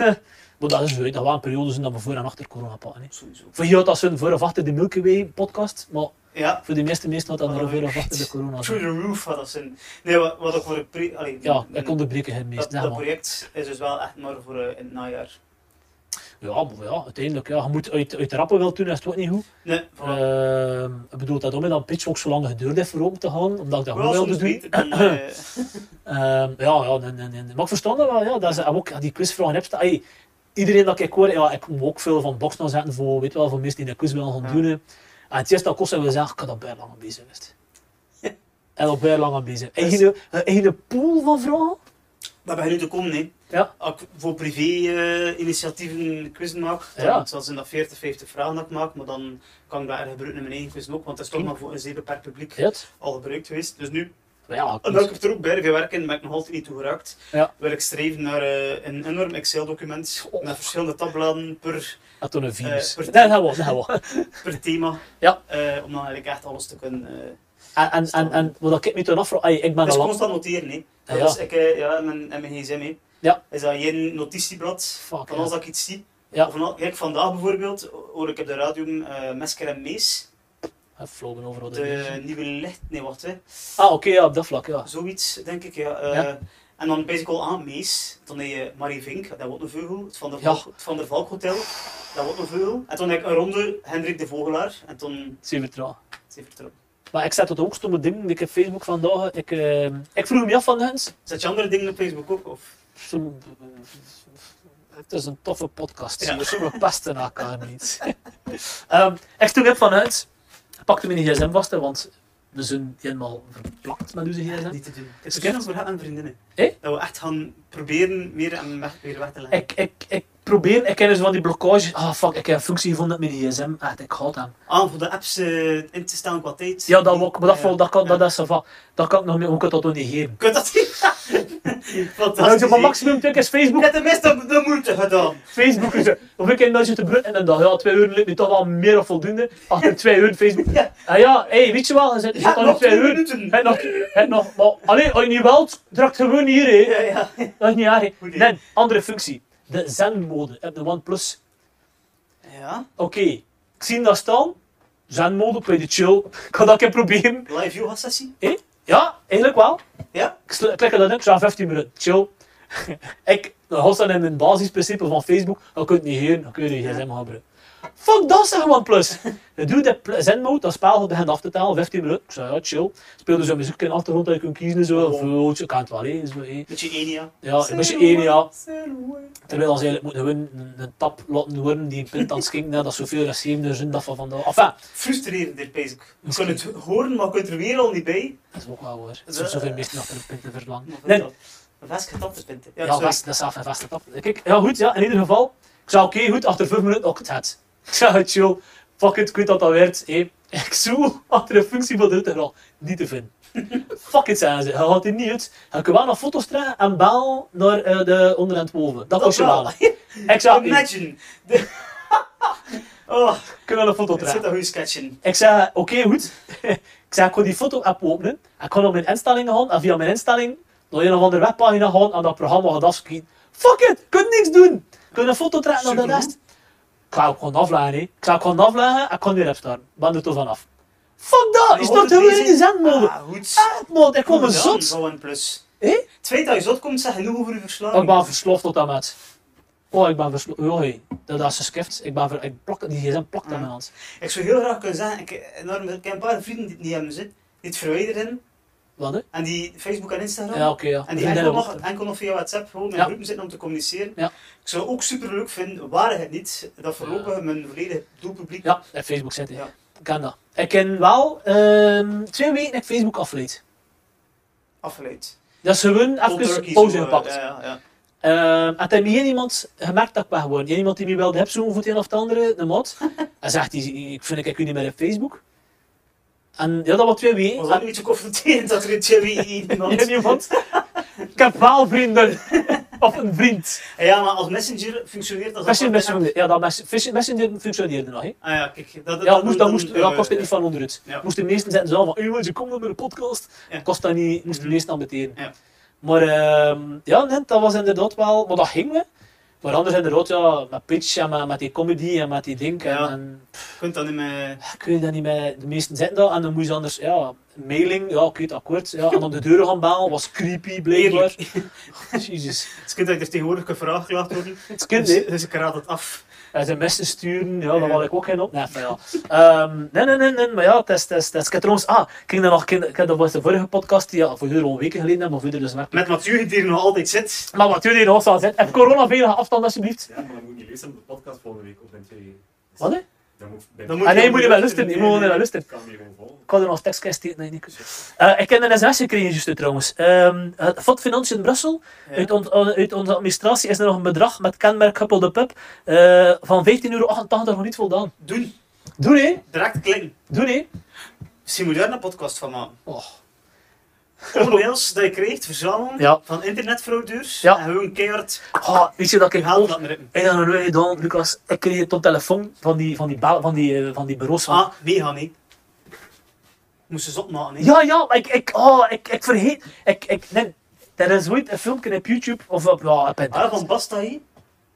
maar dat is weet, dat waren periodes dat we voor en achter corona pakken. hè. Sowieso. Voor jou had dat zo'n voor of achter de Milky Way podcast, maar Ja. voor de meeste mensen had dat een voor of achter de corona. Through zijn. the roof had dat zijn. Nee, wat, wat ook voor een pre... Allee, Ja, een- ik onderbreek je het dat, meest, zeg dat maar. project is dus wel echt maar voor eh, in het najaar. Ja, maar ja, uiteindelijk, ja, je moet uit, uit de rappen wel doen, dat is het ook niet goed. Nee, voilà. Ehm, ik bedoel, dat om me dan pitch ook zo lang geduurd heeft voor om te gaan, omdat ik dat wel goed wilde soms doen. beter dan... eh, Ehm, ja, ja nee, nee, nee. nee. Maar ik verstand dat wel, ja. Dat ze ook ja, die quizvragen hebt. Ay, iedereen dat ik hoor, ja, ik moet ook veel van boxen aan zetten voor, weet wel, voor mensen die de quiz willen gaan Ja. doen. hè. En het eerste dat kost hebben we gezegd, ik had dat bij lang aan bezig geweest. En al bij lang aan bezig. En Dus- je een pool van vragen? Dat begint nu te komen, hè. Ja. Als ik voor eh, privé-initiatieven quizzen maak, dan Ja. zal zijn dat 40, 50 vragen dat ik maak, maar dan kan ik dat erg gebruiken in mijn eigen quizzen ook, want dat is toch maar voor een zeer beperkt publiek Het? al gebruikt geweest. Dus nu, Maar Ja, omdat ik quiz. heb er ook bij veel werken, maar ik nog altijd niet toe geraakt, Ja. wil ik streven naar eh, een enorm Excel-document Oh. met verschillende tabbladen per, had toen een virus. Eh, per- nee, dat was, dat was. per thema, Ja. eh, om dan eigenlijk echt alles te kunnen... eh, En, en, en, en wat ik me toen afvraag, ay, ik ben Het is al lang... constant noteren, hè. Dat Ja. is, ik, eh, ja, in mijn, in mijn gsm, hè. Ja. Is dat geen notitieblad Fuck, van ja. als dat ik iets zie. Ja. Of nou, kijk, vandaag bijvoorbeeld hoor ik op de radio eh Mesker en Mees, Ja, flopen overal de de virus. nieuwe licht, nee wacht hè, Ah, oké, ja, op dat vlak, ja. zoiets denk ik ja. eh, Ja. En dan ben ik al aan Mees, toen deed je Marie Vink, dat wordt een vogel, het Van der, Ja. Valk, het Van der Valk Hotel, dat wordt een vogel. En toen heb ik een ronde Hendrik de Vogelaar, en toen, Super traag. het heeft vertrouwen. Maar ik zet dat ook stomme ding. Ik heb Facebook vandaag. Ik, eh, ik vroeg me af van Hens. Zet je andere dingen op Facebook ook? Of? Zo- Het is een toffe podcast. Ja. Ja. Zo pasten elkaar niet. Ehm, ik vroeg me af van Hens. Ik pakte mijn gsm vast, hè, want we zijn helemaal verplakt met onze gsm. Niet Ah, te doen. Ik Is ken het? ons voor haar en vriendinnen. Eh? Dat we echt gaan proberen weer en weg, weer weg te leggen. Ik, ik, ik probeer, ik ken dus van die blokkage. Ah fuck, ik heb een functie gevonden met mijn gsm. Echt, ik haat hem. Aan Ah, voor de apps eh, in te staan qua tijd. Ja, dat ook, maar dat, val- dat, kan, Ja. dat, dat is ervan. Dat kan ik nog meer, hoe kan ik dat nog niet geven? Ik weet dat niet. Dat je Fantastisch. van maximum twee keer is Facebook. Ik heb de meeste de moeite gedaan. Facebook is er. Of ik in dat te brut en dan dacht, ja, twee uur lukt nu toch wel meer of voldoende. Achter twee uur Facebook. Ja. Ah ja, hey, weet je wel, je zit je Ja, zit al in nog twee twee uur. minuten. En nog, en nog, maar, allee, als je niet wilt, draagt gewoon hier, hé. Ja, ja. Dat is niet aardig. Goed idee. Nee, andere functie. De zendmode op de OnePlus. Ja, Oké, ik zie dat staan. Zendmode, play the chill. Ik ga dat een keer proberen. live view was sessie. Ja, eigenlijk wel. Ja. Ik sl- klik er dan in, ik zou 15 minuten, chill. ik, dat was dan in mijn basisprincipe van Facebook, dan kun je het niet heen, dan kun je de gsm gaan gebruiken. Fuck dat zeg OnePlus! Je doet de pl- zendmode, dat spel begint af te tellen, 15 minuten, ik zei ja, chill. Speel dus een muziek in de achtergrond dat je kunt kiezen en zo, of oh, je kan het wel hé, zo hé. Beetje Enia. Ja, een beetje één ja. Terwijl als eigenlijk moeten gewoon een, een tap laten worden die een pint aan het schenken, hè, dat is zoveel als 7 zijn dat van vandaag. Enfin, Frustrerend dit bezig. Je Misschien. kunt het horen, maar je kunt er weer al niet bij. dat is ook wel hoor. Er zijn zoveel mensen nog een pint te verlangen. Maar Nee, dat- Een vast getapte punten. Ja, Ja, sorry. vast, dat is af en vast af. Kijk, ja, goed, ja, in ieder geval. Ik zei, oké, goed, achter vijf minuten ook het het. Ik zei, het chill, fuck it, ik weet dat dat werd. hé. Ik zoek achter een functie van de integral niet te vinden. fuck it, zeiden ze. Hij had het niet uit. Hij kan wel nog foto's trekken en bel naar eh, de onderhand boven. Dat kost je wel. wel. Exact. Imagine. De- oh, Kunnen we een foto het zit trekken? een goede sketch in. Ik zei, oké, goed. ik zei, ik kon die foto-app openen. Ik kon op mijn instellingen gaan. En via mijn instelling door een of andere webpagina gaan en dat programma gaat afschieten. Fuck it, ik kan niks doen. Ik kon een foto trekken op de Supergoed. rest. Ik zou gewoon afleggen, hè. Ik zou gewoon afleggen en ik kon weer opstaan. Ben er toch vanaf. Fuck dat, is Maar dat heel in die zendmode. Ah, goed. Ah, man, ik kom Goed een gedaan zot. Van OnePlus. Hé? Het feit dat je zot komt, zegt genoeg over je Oh, ik verslaving. ben versloft tot dat met. Oh, ik ben versloft. Oh, hey. Dat is een skift. Ik ben ver... Ik plak... Die gsm plakt aan Ja. mijn hand. Ik zou heel graag kunnen zeggen, ik, enorm, ik heb een paar vrienden die het niet hebben zitten, die het verwijderen Wat, hè? en die Facebook en Instagram. Ja, oké, ja. En die Vriendinnen enkel nog, wachten. enkel nog via WhatsApp gewoon met Ja. groepen zitten om te communiceren. Ja. Ik zou ook super leuk vinden, waren het niet, dat voorlopig mijn volledige doelpubliek. Ja, en Facebook zit Ja. Ik ken dat. Ik ken wel ehm, twee weken dat ik Facebook afleed. afgeleid. Dat is gewoon Cold turkey, even pauze zo, gepakt. eh, Ja, ja. Ehm, en toen heeft iemand gemerkt dat ik ben gewoon. Iemand die mij wilde hebzoenen voor het een of het andere, de mat. en zegt, die, ik vind ik, ik u niet meer op Facebook. En ja, dat was twee weken. Was dat een beetje confronterend dat er een Jimmy En- iemand... ah. Ja, iemand. ik heb wel vrienden. of een vriend. Ah, Ja, maar als messenger functioneert dat... Messenger, apart, hè? messenger, ja, dat mes- vis- messenger functioneerde nog. Hè. Ah ja, kijk. Dat, dat, Ja, dat moest, dat moest, ja, eh, kost het niet van onderuit. ja. Moest de meesten zetten zelf van, jongens, je komt nog met een podcast. Ja. Kost dat niet, moest de Mhm. meesten ambiteren. Ja. Maar ehm, ja, nee, dat was inderdaad wel, maar dat ging we. Maar anders inderdaad, ja, met pitch en met, met die comedy en met die ding. En, Ja. en, Je kunt dan niet meer... ja, kun je dat niet met de meesten zitten daar en dan moest je anders, ja, mailing, ja, oké, het akkoord. Ja, en op de deuren gaan bellen, was creepy, blijkbaar. Oh, Jezus. Het is kind dat ik er tegenwoordig een vraag gelaten worden. Het kind, Dus, hè. dus ik raad het af. En zijn messen sturen, ja, daar Ja. had ik ook geen op. Nee, maar ja. Ehm, nee, nee, nee, nee, maar ja, het is, het is, het is. Ik heb trouwens, ah, ik ging daar nog, ik ging- ik heb dat was de vorige podcast, die ja, voor jullie al een weken geleden, maar voor jullie dus weg. Met Mathieu die er nog altijd zit. Maar wat jullie nog zal zitten, heb corona-veilige afstand alsjeblieft. Ja, maar dan moet je luisteren op de podcast volgende week of in twee weken. Dus Wat hè? Dan moet, dan Dan Ah nee, moet je wel luisteren, luisteren. je moet wel luisteren. kan je gewoon volgen. Ik had er nog tekst in steken, nee, niet kunnen. Eh, ik heb een sms gekregen, juist trouwens. Ehm het Vat Financiën in Brussel, Ja. uit, ons- eh, uit onze administratie is er nog een bedrag met kenmerk gekoppelde pub eh, van 15,88 euro nog niet voldaan. Doen. Doe nee, Direct klikken. doe nee. Misschien moet je daar een podcast van maken. Oh. Alle mails die je kreeg, verzamelen Ja. van internetfraudeurs. Ja. En gewoon keihard Ah, weet je dat ik haal laten rippen. En dan weet je dan, Lucas, ik kreeg tot telefoon van die, van die, bel- van die, eh, van die bureaus van... Ah, wie gaan niet? Moesten ze opmaken, hè? Ja, ja, maar ik, ik, oh, ik, ik vergeet... Ik, ik, nee, er is ooit een filmpje op YouTube of op, ja, op Ah, internet. van Basta hier.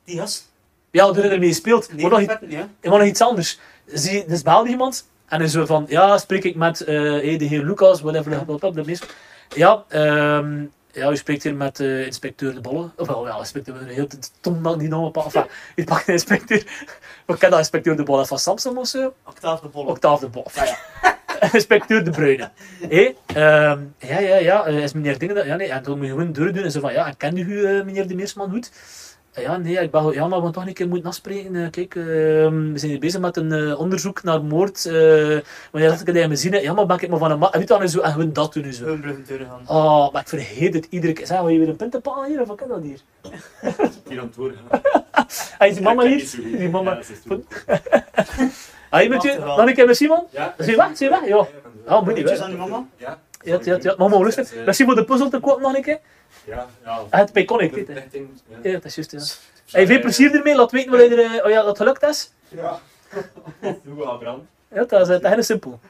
Die gast. Ja, er er mee speelt. Nee, maar, nog, iets- perfect, ja. maar nog iets anders. Zie, dus belde iemand en dan zo van, ja, spreek ik met eh, hey, de heer Lucas, whatever, wat dat de meest... Ja, ehm, ja, u spreekt hier met eh, inspecteur De Bolle. Of wel, ja, inspecteur, een heel tom dat die naam op. Enfin, ik pak de inspecteur... We kennen dat inspecteur De Bolle van Samsung of zo. Octaaf de Bolle. Octaaf de Bof. Ja. Inspecteur De Bruyne. Hé, ehm, ja, ja, ja, eh, is meneer Dingen dat? Ja, nee, en toen moet je gewoon deur doen en zo van, ja, en kende u eh, meneer De Meersman goed? Eh, Ja, nee, ik ben, gewoon- ja, maar we gaan toch een keer moeten afspreken. Eh, kijk, ehm, we zijn hier bezig met een eh, onderzoek naar moord. eh maar ja, dat ik het me zien. Ja, maar ben ik maar van een man. Weet je wel, en zo, en gewoon dat doen en zo. Hun bruggen deuren gaan. Oh, maar ik vergeet het iedere keer. Zijn we hier weer een puntenpaal hier, of wat kan dat hier? Hier aan het woord gaan. Ah, is die mama Ik ken niet hier? zo goed. Die mama. Ja, ze is toen- Ah, je bent hier? Dan een keer met Simon? Ja. Zie je wat? Zie je wat? Ja. Ja, Oh, moet niet, Groetjes hè? aan die mama. Ja. Ja, ja, ja. Mama, luister. Misschien voor de puzzel te koop nog een keer. Ja, ja. Ah, het Peconic, dit, hè. Verplichting, ja. Ja, dat is juist, ja. Hey, veel plezier ermee, laat weten wat je er, eh, oh ja, dat gelukt is. Ja. Doe wel, Bram. Ja, dat is eh, dat is heel simpel.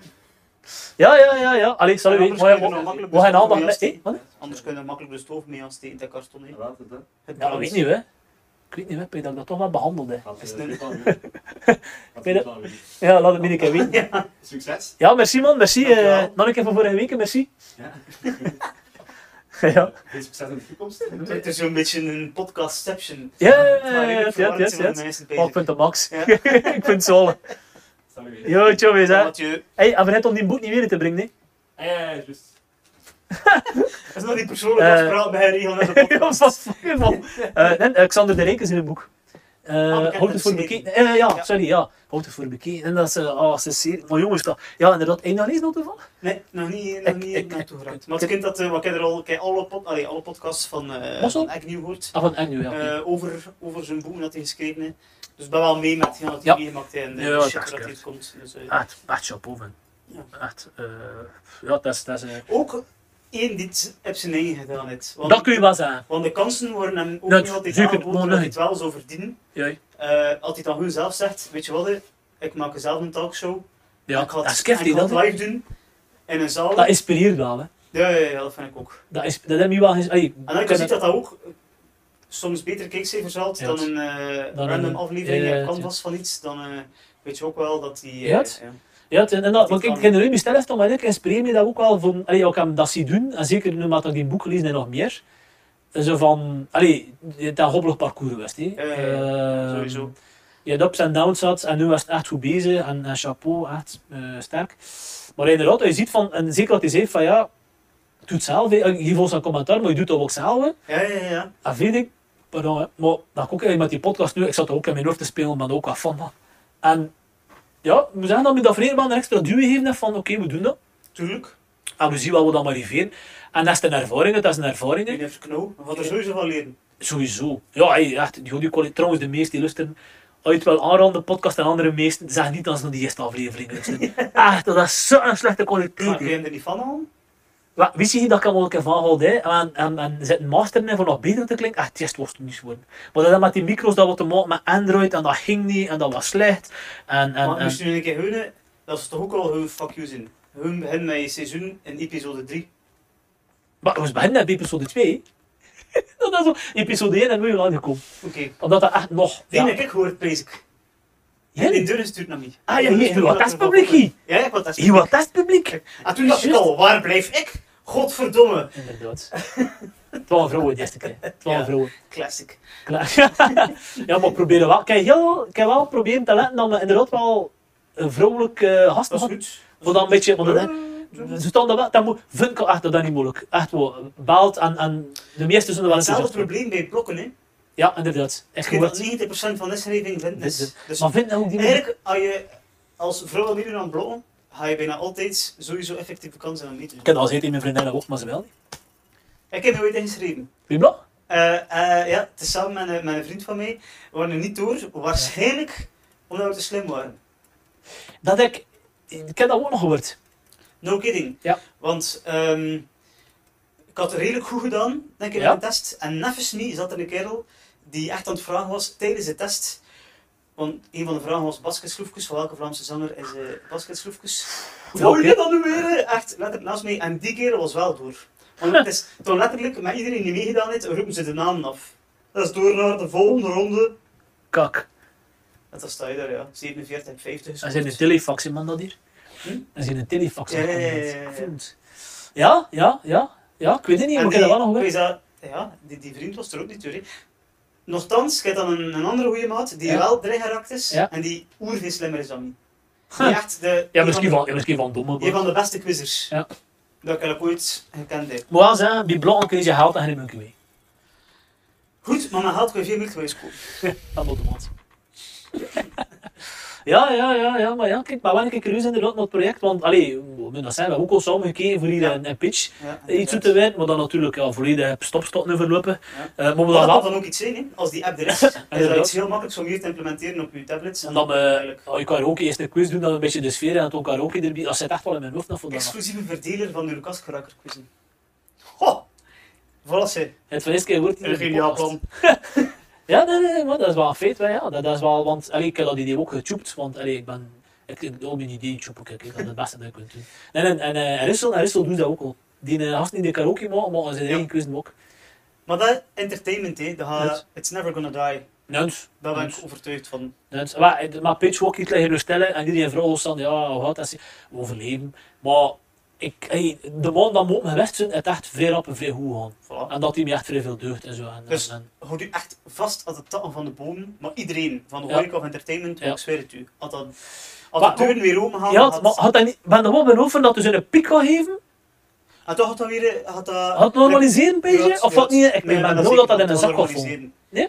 Ja, ja, ja, ja. Allee, zal u Anders weten. kun Mooi, je er mooi. nog makkelijk We gaan de stoof allemaal mee met... aansteken. Hé, wat? Anders kun je er makkelijk de stoof mee aansteken, dat karton. hè. Laat het, hè. Het Ja, dat weet ik niet, hè. Ik weet niet, hè, Peter, dat ik dat toch wel behandelde. Laat Is het het een- niet van weer. Laat Weet het je- van weer. Ja, laat het me een keer weten. Succes. Ja, merci man, merci. eh, Dankjewel. nog een keer van vorige week, merci. Ja. ja, Veel succes in de toekomst. Het is zo'n beetje een podcastception. ja, ja, Het waren ja, ja, heel ja, verwarrend, ja, zijn ja, we de mensen ja. Oh, ik bezig. vind het max. Ja. ik vind het zalig. Sorry. Yo, ciao, wees, hè. Mathieu, Hey, en vergeet om die boek niet weer in te brengen, hè. Ah, ja, ja, juist. dat is nog die persoonlijke Eh. afspraak bij Harry van de Ja, podcast. dat is fucking man. Eh, nee, Alexander de Rijk is in een boek. Eh bekend Houd het uit voor Zweden. bekeken. Eh, ja, Ja. sorry, ja. Houd het voor bekeken. En dat is, eh, oh, ze is zeer... Maar jongens, dat... Ja, inderdaad. Eén alleen nog toevallig? Nee, nog niet, nog Ik- niet ik- naartoe ik- geraakt. ik- Maar het kind dat, eh, wat ik er al, kijk, alle, pod, allee, alle podcasts van eh Mossel? van Eck Nieuw hoort, Ah, van Enjo, ja. oké. eh, over, over zijn boeken dat hij geschreven heeft. Dus ik ben wel mee met wat hij Ja. meegemaakt heeft en de Ja, de dat shit is Ah. dat hij goed. komt. Dus, eh, Echt, echt chapeau, man. Ja. Echt, eh, ja, dat is... Dat is eh, Ook één die het op zijn eigen gedaan heeft. Want, Dat kun je wel zeggen. want de kansen worden hem ook Dat niet altijd zeker, aangeboden maar dat hij nee. het wel zou verdienen. Ja, Eh, als hij dan gewoon zelf zegt, weet je wat, hè, ik maak zelf een talkshow. ja. ik ga dat het, is kefty, ik ga het dat, live doen. In een zaal. dat inspireert wel. Hè. Ja, ja, ja, dat vind ik ook. Dat, is, dat heb je wel eens. Hey, En dan kan je zien dat dat ook soms beter kijkcijfers haalt Ja, dan het- een eh, dan random een- aflevering ja, ja, op het- canvas van iets. Dan eh, weet je ook wel dat die... eh, Ja, het- ja. Ja, het- inderdaad. Want ik kan- ken de Ruby Sterft, maar ik inspireer me dat ook wel van... Allee, ik hem dat zie doen, en zeker nu omdat ik die boek gelezen en nog meer. Eh, Zo van... Allee, dat hobbelig parcours was, hè. Ja, ja, Ehm, sowieso. Je hebt ups en downs gehad, en nu was het echt goed bezig, en, en chapeau, echt eh, sterk. Maar inderdaad, je ziet van... En zeker wat hij zei van, ja... Doe het zelf, hè. Ik geef ons een commentaar, maar je doet dat ook zelf, hè. Ja, ja, ja. Dat vind Ah, ik... Pardon, hè. Maar dat ik ook eh, met die podcast nu... Ik zat er ook in mijn hoofd te spelen, maar daar ook wat van, man. En... Ja, ik moet zeggen dat me dat Vreerbaan een extra duw gegeven heeft van... Oké, we doen dat. Tuurlijk. En we zien wel wat we dan arriveren. En dat is een ervaring, dat is een Die ervaring. heeft knauw. We gaan er sowieso van leren. Sowieso. Ja, hey, echt, die, die kwaliteit, trouwens de meesten die luisteren, als je het wel aanranden, de podcast en andere meesten, zeg niet dat ze nog die eerste aflevering luisteren. Echt, dat is zo'n slechte Maar kwaliteit. ben hè. je er niet van aan? Wa- Wist je dat ik hem wel een keer van had, hè? En, en, en zit een master in voor nog beter te klinken? Echt, het wordt niet worden. Maar dat met die micro's, dat wat te maken met Android, en dat ging niet, en dat was slecht. En, en, Maar en moest je nu een keer hunnen, dat is toch ook al hun fuck you in. Hun beginnen met je seizoen in episode 3. maar we was beginnen bij episode 2. hè. dat is zo, episode 1 en nu weer aangekomen. Oké. Omdat dat echt nog... Die ja. heb ik gehoord, vrees ik. Ja, Die deur stuurt naar mij. Ah, ja, Die hier, stuurt wat naar is de publiek balkon. hier? Ja, ja, wat dat is Hier wat testpubliek. En toen dacht ik Juist. al, waar blijf ik? Godverdomme. Inderdaad. Het waren vrouwen de eerste keer. Het waren Ja. vrouwen. Classic. Klaar. ja, maar proberen wel. Ik heb heel- ik heb wel proberen te letten dat we inderdaad wel een vrouwelijk eh gast Dat is hadden. goed. Voor dan een beetje... Want dat, Eh, zo stond dat wel, dat moet, vind ik wel echt dat dat niet moeilijk. Echt wel. Belt en, en de meesten zullen wel eens gezegd Hetzelfde hebben. probleem bij blokken, hè. Ja, inderdaad. Echt Ik weet dat gehoord. 90% van de schrijving blind is. Dus Maar vind nou ook die moeilijk? eigenlijk, als je als vrouw meedoet aan blokken, ga je bijna altijd sowieso effectieve kansen aan meedoen. Ik heb al gezeten in mijn vriendin dat ook, maar ze wel niet. Ik heb nooit ingeschreven. Wie blok? Eh, eh, ja, het is samen met, een- met een vriend van mij. We waren er niet door, waarschijnlijk omdat we te slim waren. Dat ik... Ik heb dat ook nog gehoord. No kidding. Ja. Want ehm, ik had het redelijk goed gedaan, denk ik, Ja. met de test. En neffens niet zat er een kerel die echt aan het vragen was tijdens de test. Want een van de vragen was Basketschroefkes. Van welke Vlaamse zanger is eh Basketschroefkes? Hoe Ja, wou je oké. dit dan nu weer? eh? Echt, letterlijk naast mij. En die kerel was wel door. Want het is toen letterlijk met iedereen die meegedaan heeft, roepen ze de namen af. Dat is door naar de volgende ronde. Kak. En dan sta je daar, ja. 47, 50. Dat is een telefax, hè, man, dat hier. Hm? Dat is een telefax. Ja, ja, ja, ja, ja. Voelt. ja, ja, ja. Ja, ik weet het niet, En maar ik heb die, dat wel nog gehoord. wees dat- ja, die, die vriend was er ook niet door. hè. Nochtans, je hebt dan een, een andere goede maat die Ja. wel dreigeraakt is Ja. en die oerveel slimmer is dan niet. Die Huh. echt de, Ja, een misschien van van, ja, misschien van domme. de, een Maar, van de beste quizzers. Ja. Dat ik heb ooit gekend heb. maar wel zeggen, bij blokken kun je je geld en geen munkie mee. Goed, maar mijn geld kun je veel meer geweest kopen. Dat moet de man. Ja, ja, ja, ja, maar ja, kijk, maar wel een keer curieus inderdaad naar het project, want, allee, we moeten dat zijn, we hebben ook al samen gekeken voor hier Ja. een, een pitch, Ja, iets zo te winnen, maar dan natuurlijk ja, volledig stopstot nu verlopen. Eh maar we Maar dan dat kan wel, dan ook iets zijn, hè. als die app er is. is dat Inderdaad. iets heel makkelijks om hier te implementeren op je tablets. en dan, eh eigenlijk ja, je karaoke eerst een quiz doen, dan een beetje de sfeer en het ook karaoke erbij, dat zit echt wel in mijn hoofd nog voor dan. Exclusieve verdeler van de Lucas Karakker quizzen. Ho! Voilà, ze. Het van eerste keer wordt hier Een in de geniaal podcast. plan. Ja, nee, nee, nee, maar dat is wel een feit. hè, Ja. Dat, dat is wel, want allee, ik heb dat idee ook getjoept, want allee, ik ben... Ik heb ook een idee tjoepen, kijk, ik dat is het beste dat je kunt doen. Nee, nee, en eh, Rissel, en Rissel doet dat ook al. Die eh, gasten in de karaoke maken, maar zijn Ja. eigen quiz ook. Maar dat entertainment, hè, dat gaat- Yes. it's never gonna die. Nuns. Daar ben ik Yes. overtuigd van. Nuns. Maar, eh, maar pitchwalk iets liggen stellen en iedereen vraagt ons dan, ja, hoe gaat dat? zijn? We overleven. Maar ik, hey, de man dat moet geweest zijn, het echt vrij rap en vrij goed gaan. Voilà. En dat hij me echt vrij veel deugd en zo. En, Dus- en- Houd u echt vast aan de takken van de bomen, maar iedereen, van de Ja. horeca of entertainment, Ja. ik zweer het u. Als, dat, als Maar de deuren weer open en- gaan, ja, gaat- maar had hij niet, ben er wel benieuwd van dat hij ze een piek kan geven? en toch had dat weer... Had dat, Had het normaliseren een beetje? Ja, of ja. wat niet? Ik Nee, ben maar benieuwd dat dat in zeker een kan zak gaat vallen. normaliseren. Nee?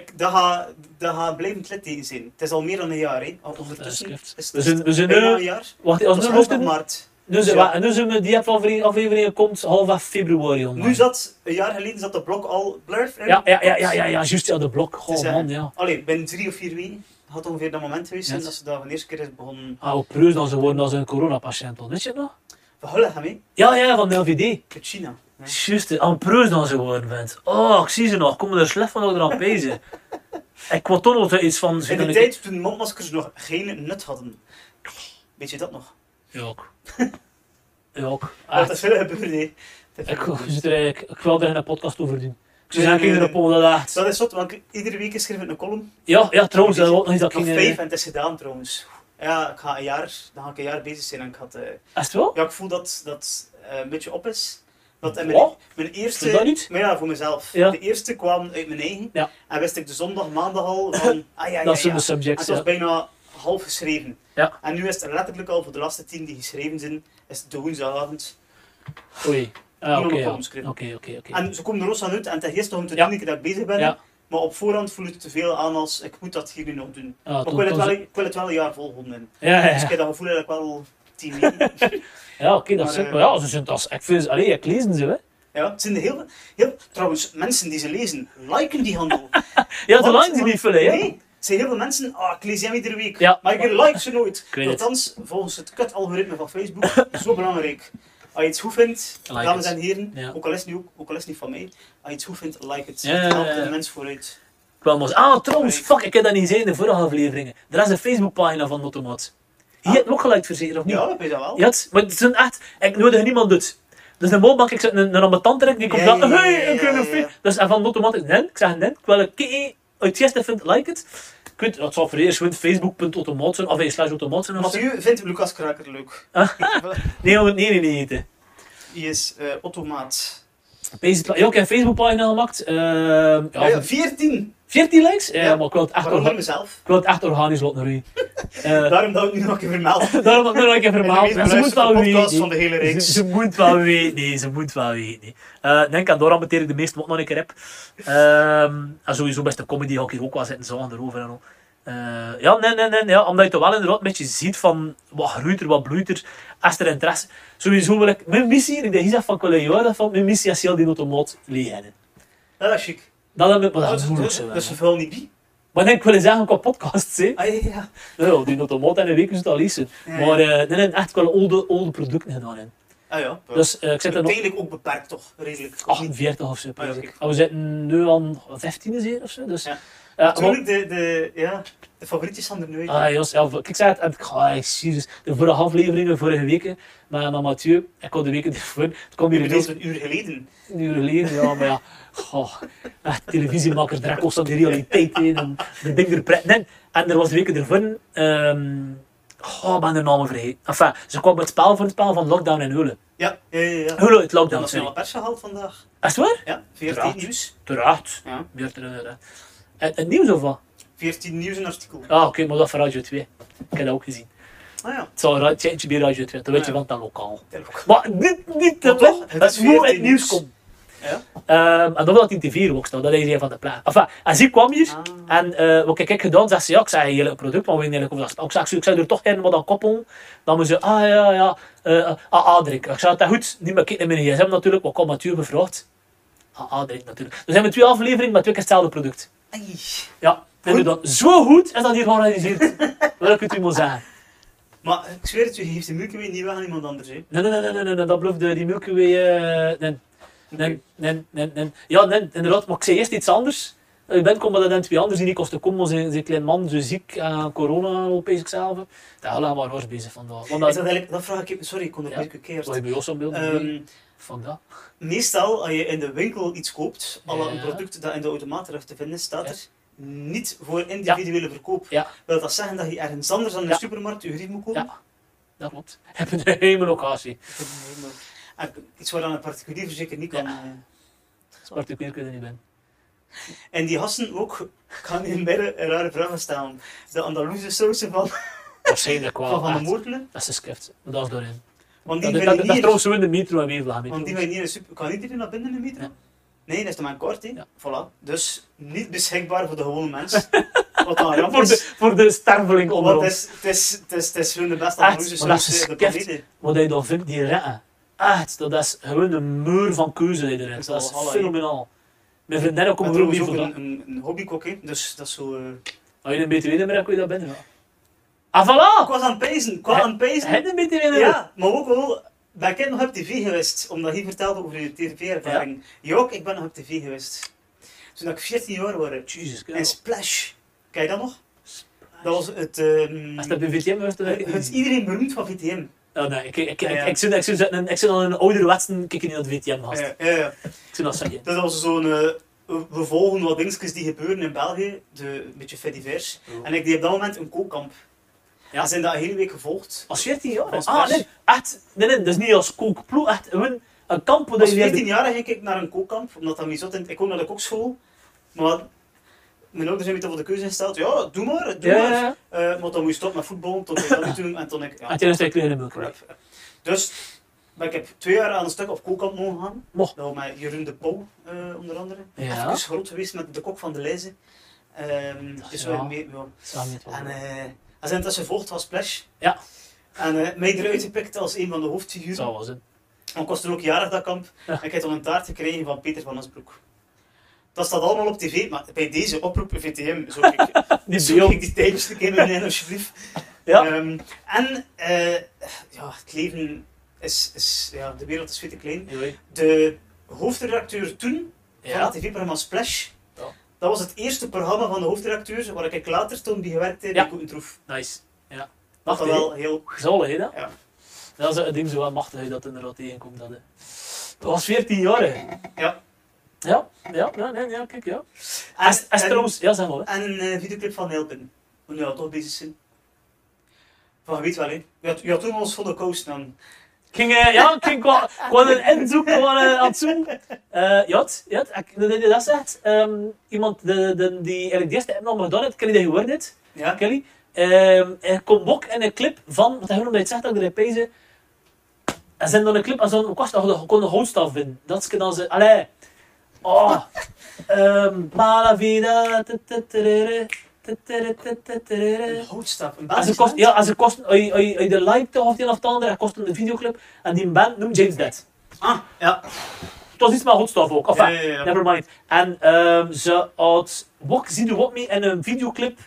Ik, dat gaat dat gaat blijvend litteken zijn. Het is al meer dan een jaar, hè. Al Ondertussen dat is is We het zijn, we zijn bijna nu... een jaar. Wacht, als dus Dat nu is half luisteren... maart. Nu zijn Ja. we- nu zijn we... Die aflevering, aflevering komt half februari online. Nu zat, een jaar geleden zat de blok al... Blurf, Oh Ja, ja, ja, ja, ja, ja juist. Ja, de blok. Het is, Goh, eh, man, ja. Allee, binnen drie of vier weken had ongeveer dat moment geweest zijn Yes. dat ze daar van de eerste keer is begonnen. Ah, hoe preus dan ze worden als een coronapatiënt. dan, Weet je het nog? Verhullen hem mee. Ja, ja, van de LVD. China. Ja. Juist, de ampreus dan ze geworden bent. Oh, ik zie ze nog. Komen er slecht van dat ik eraan bezig. Ik kwam toch nog iets van... ze In de kunnen- tijd toen mondmaskers nog geen nut hadden. Weet je dat nog? Ja, ook. Ja, ook. Wat Echt. is veel gebeurd, hè? Dat Ik, vind ik, ik zit er eigenlijk- ik wil er een podcast over doen. Ik zie Nee, eigenlijk nee, in de nee. pool dat echt- Dat is zot, want ik- iedere week schrijf ik een column. Ja, ja, trouwens, dat wil ik nog iets dat ik Nog ging, eh, vijf en het is gedaan trouwens. Ja, ik ga een jaar, dan ga ik een jaar bezig zijn en ik had... eh, Is het wel? ja, ik voel dat dat eh, een beetje op is. Dat en mijn, Wat? mijn Is dat eerste... niet? Maar ja, voor mezelf. Ja. De eerste kwam uit mijn eigen. Ja. En wist ik de zondag, maandag al van... Ah ja, ja, Dat ja. zijn de En subjects, het was ja. bijna half geschreven. Ja. En nu is het letterlijk al voor de laatste tien die geschreven zijn, is het de woensdagavond. Oei. Ah, Niemand Oké, op ja. ons kribben. oké, oké. oké. En ze komen er los aan uit en het is eerst nog om te Ja. doen dat ik bezig ben. Ja. Maar op voorhand voel ik het te veel aan als ik moet dat hier nu nog doen. Ah, Maar toen- ik wil, het toen wel, ze- ik wil het wel een jaar volhouden. Ja, ja, Dus ik ja. heb dat gevoel eigenlijk wel tien jaar. Ja, oké, dat Maar, zit eh, wel. Ja, ze zijn als... Ik vind ze... Allee, ik lezen ze, hè. Ja, het zijn heel, veel- heel, trouwens, mensen die ze lezen, liken die handel. Ja, de Want- lijn die niet vullen, hè. Nee, het zijn heel veel mensen, ah, ik lees hem iedere week. Ja. Maar ik like ze nooit. weet het. Althans, volgens het kut-algoritme van Facebook, zo belangrijk. Als je iets goed vindt, Like dames het. en heren, Ja. ook, al is het niet, ook, ook al is het niet van mij, als je iets goed vindt, like het. Ja, ja, Het helpt ja, ja. de mens vooruit. Ik wou maar eens- Ah, trouwens, fuck, ik heb dat niet gezien in de vorige afleveringen. Er is een Facebookpagina van Motomat. Je Ah. hebt hem ook gelijk verzekerd, of niet? Ja, weet je wel. Oh. Ja, het- maar het zijn echt... Ik nodig niemand doet. Dus een moorbank, ik zet een, een ambetant erin, die komt Ja, dan... ja, ja, hey, ik ja, wil ja, een ja. fe- Dus en van Motomat is nen. Ik zeg nen. Ik wil een kei uit Jester vind, like het. Ik weet, dat zal voor eerst gewoon facebook.automaat zijn, of eh, slash automaat zijn of zo. Mathieu vindt Lucas Kraker leuk. Nee, jongen, nee, nee, nee, nee. Die is eh automaat. Basic- Ja, ik heb een Facebookpagina gemaakt. ehm Ja, ja, 14! 14 likes? Ja, Ja. maar ik wil het echt, Waarom orga- voor mezelf? ik wil het echt organisch laten roeien. Eh, Daarom dat ik nu nog een keer vermeld. Daarom dat ik nog een keer In de vermaald. meest Ze moet wel beluisterde podcast weten. van de hele Ze, reeks. ze moet wel weten. Nee, ze moet wel weten. Eh, Ik denk aan Dora meteen ik de meeste wat nog een keer heb. Ehm, en sowieso best de comedy ga ik hier ook wel zitten zagen erover en al. Eh, ja, nee, nee, nee, ja, omdat je toch wel inderdaad een beetje ziet van wat groeit er, wat bloeit er, is er interesse. Sowieso wil ik, mijn missie, ik denk Isaf van collega van mijn missie is heel die automaat leren. Ja, dat is chic. Dat heb ik, maar dat Dus- is dus- moeilijk zo. Dus ze vullen niet bij. Maar ik wil eens zeggen qua podcasts, hè. Ah, ja, ja. Nou, die automaat en een week is het al lezen. Ja, Maar eh, nee, nee, echt wel oude, oude producten gedaan. Hè. Ah ja. Dus eh, ik zit er nog Uiteindelijk ook beperkt toch, redelijk. Of niet? 48 of zo. Ah, ja, prijs ik. kijk. En we zitten nu aan 15 is hier of zo. Dus, Ja. ja, maar- Natuurlijk, de, de, ja, de favorietjes van de nooit. Ah, Jos, ja, ik zei het, en Ah, ik ga, jezus, de vorige afleveringen, vorige weken, met, met Mathieu, ik had de weken ervoor, het kwam Je hier bedoelt ineens een uur geleden. een uur geleden, ja, maar ja, goh, echt, televisiemaker, daar constant de realiteit in, en de ding er pret in. En er was de weken ervoor, ehm goh, ik ben de namen vergeten. Enfin, ze kwam met het spel voor het spel van Lockdown en Hulen. Ja, ja, ja. ja. Hulen, het De Lockdown, nationale sorry. pers gehaald vandaag. Is het waar? Ja, 14 Raad. nieuws. Uiteraard. Ja. Weer terug, eh, Het, het nieuws of wat? 14 nieuws en artikel. Ah, oké, maar dat van Radio 2. Ik heb dat ook gezien. Ah ja, Het zou een tijdje bij Radio 2, dat weet je Ja. want dan lokaal. dat ook. Maar dit, niet te Maar toch, toch, het dat is moet het 14 nieuws nieuws. komt. Ja. Ehm, en dan wil dat in tv ook staan, dat is een van de plaat. Enfin, en ze kwam hier, Ah. en eh, wat ik heb gedaan, zei ze, ja, ik zei heel leuk product, maar we weten eigenlijk of dat is. Ik zei, ik zou- ik zou er toch gerne wat aan koppelen. Dan moet ze, ah ja, ja, eh, ah, ah, drink. Ik zei, dat goed, niet meer kijken naar mijn gsm natuurlijk, maar ik had Mathieu gevraagd. Ah, ah, drink natuurlijk. Dus hebben we twee afleveringen met twee keer hetzelfde product. Ai. Ja, inderdaad. Zo goed is dat hier georganiseerd. Welk het u moet zeggen. Maar eh, ik zweer het, u geeft de Milky Way niet weg aan iemand anders. Hè. Nee, nee, nee, nee, nee, nee, dat belooft de- die Milky Way. eh, nee, nee, nee, nee, nee. Ja, nee, inderdaad, maar ik zei eerst iets anders. Ik ben komen dat dan twee anders die niet kosten komen, zijn, zijn klein man, zo ziek, aan corona, opeens ikzelf. Daar gaan we maar hoors bezig vandaag. Want Is dat dat, eigenlijk, dat vraag ik even, sorry, ik kon er Ja. niet gekeerd. was bij ons zo'n beeld. Ehm, Vandaag. meestal, als je in de winkel iets koopt, alle Ja. een product dat in de automaat terug te vinden is, staat Ja. er niet voor individuele verkoop. Ja. Wil dat zeggen dat je ergens anders dan in de Ja. supermarkt je grief moet kopen? Ja. Dat klopt. Heb een hele locatie. En Ah, Iets waar dan een particulier zeker niet kan. eh. Particulier kun je er niet ben. En die hassen ook, ik ga nu midden een rare vragen stellen. De Andalusië sausen van, Waarschijnlijk van wel. Van de echt. Moortelen. Dat is een script. Dat is doorheen. Want Dat, die dat, vinden dat, dat is hier, trouwens zo in de metro en Wevelgem. want die vinden hier een super... Kan iedereen naar binnen in de metro? Ja. Nee, dat is dan maar kort, hè. Ja. Voilà. Dus niet beschikbaar voor de gewone mens. Wat dan jammer voor, de, is. voor de sterveling onder Want het ons. is, het is, het is, het is gewoon de beste Echt, Andalusië maar dat is saus eh, de geskept. planeet. hè. Wat hij dan vindt, die retten. Echt, dat is gewoon een muur van keuze die erin is. Dat is Dat wel is alle, fenomenaal. Mijn vriendinnen En komen er ook trouwens niet ook vandaan. een, een, een hobbykok, hè. Dus dat is zo... eh, Ah, Als je een btw-nummer hebt, kun je dat binnen. ja. Ik Ah, voilà! was aan het pezen, ik was Hè? aan het pezen. Heb je een btw-nummer? Ja, maar ook wel Ben ik nog op tv geweest, omdat hij vertelde over je tv-ervaring. Ja. ook, ik ben nog op tv geweest. Toen ik 14 jaar was. Jezus En Christus. Splash. Ken je dat nog? Dat was het... ehm, Als dat bij Hmm. VTM was, dan weet ik het, het niet. iedereen beroemd van VTM. Oh nee, ik- ik- ik- Ja, ja. ik- ik zou- ik zou zeggen, ik zou al een ouderwetse kikken in dat VTM gast. Ja, ja, ja. Ik zou dat zeggen. Dus dat was zo'n... eh, we- we volgen wat dingetjes die gebeuren in België. De, een beetje fait divers. En ik deed op dat moment een kookkamp. Ja. Ja. En zijn dat een hele week gevolgd. Als 14 jaar? Als Ah, pers. nee, echt. Nee, nee, dat is niet als kookploeg. Echt een, een kamp waar Als je weer- 14 jaar ging ik naar een kookkamp, omdat dat mij zat. in- Ik kwam naar de kokschool, maar mijn ouders hebben me tot de keuze gesteld. Ja, doe maar, doe Ja, ja, Ah, maar. ja. Eh, maar dan moest je stoppen met voetbal, toen ik dat niet doen en toen ik... En Ja, toen is hij kleren in de melk. crap. Dus maar ik heb twee jaar aan een stuk op kookkamp mogen gaan. Mocht. Nou, met Jeroen de Pauw, eh, onder andere. Ja. Even groot geweest met de kok van de lijzen. Ehm Dat dus ja. wel mee, ja. Samen met En eh hij zijn tussen volgt was Splash. Oh. Ja. En eh, mij eruit gepikt als een van de hoofdfiguren. Zo was het. Dan kost er ook jarig dat kamp. Ja. En ik heb dan een taart gekregen van Peter van Asbroek. Dat staat allemaal op tv, maar bij deze oproep VTM zoek ik, Die zoek ik beeld. die tijdjes een keer beneden, alsjeblieft. Ja. Ehm, en eh, ja, het leven is, is ja, de wereld is veel te klein. De hoofdredacteur toen van Ja. het tv-programma Splash, Ja. dat was het eerste programma van de hoofdredacteur waar ik later toen bij gewerkt heb, Ja. die Koekentroef. Nice. Ja. Dat was Machtig, hè? wel heel... Zalig, hè? dat? Ja. Dat is het ding zo wel machtig hè, dat het inderdaad tegenkomt. Dat, hè. dat was 14 jaar, hè? Ja. Ja, ja, ja, nee, ja, kijk, ja. En, Als als en- trouwens, ja, zeg maar, hè. En een eh, videoclip van Nilpin. Hoe nu al toch bezig zijn. Van je weet wel, hè? Je had, je had toen al eens van de coast dan. Ik ging, eh, ja, ik ging qua, qua een inzoek, qua een aan het zoeken. Eh, ja, het- ja, het- ik- dat dat- dat zegt, ehm, iemand de, de, die eigenlijk de eerste app nog gedaan heeft, Kelly de geworden heeft, Ja? Kelly, ehm, er komt ook in een clip van, wat hij noemde, het zegt dat ik erin pezen, er zijn dan een clip als zo'n kwast dat je kon de houtstaf vinden. Dat is dan ze, allee, oh, ehm Mala Vida, tututurere, tuturutututurere. Een houtstap, een Als basis. ze kost, ja, als ze kost, als je- als je- als je de like toch of het een of het ander, hij kost een videoclip en die band noemt James Dead. Ah, ja. Het was iets met hotstof ook, of ah, Ja, ja, ja. never mind. En ehm, ze had Wok, zie je Wok mee in een videoclip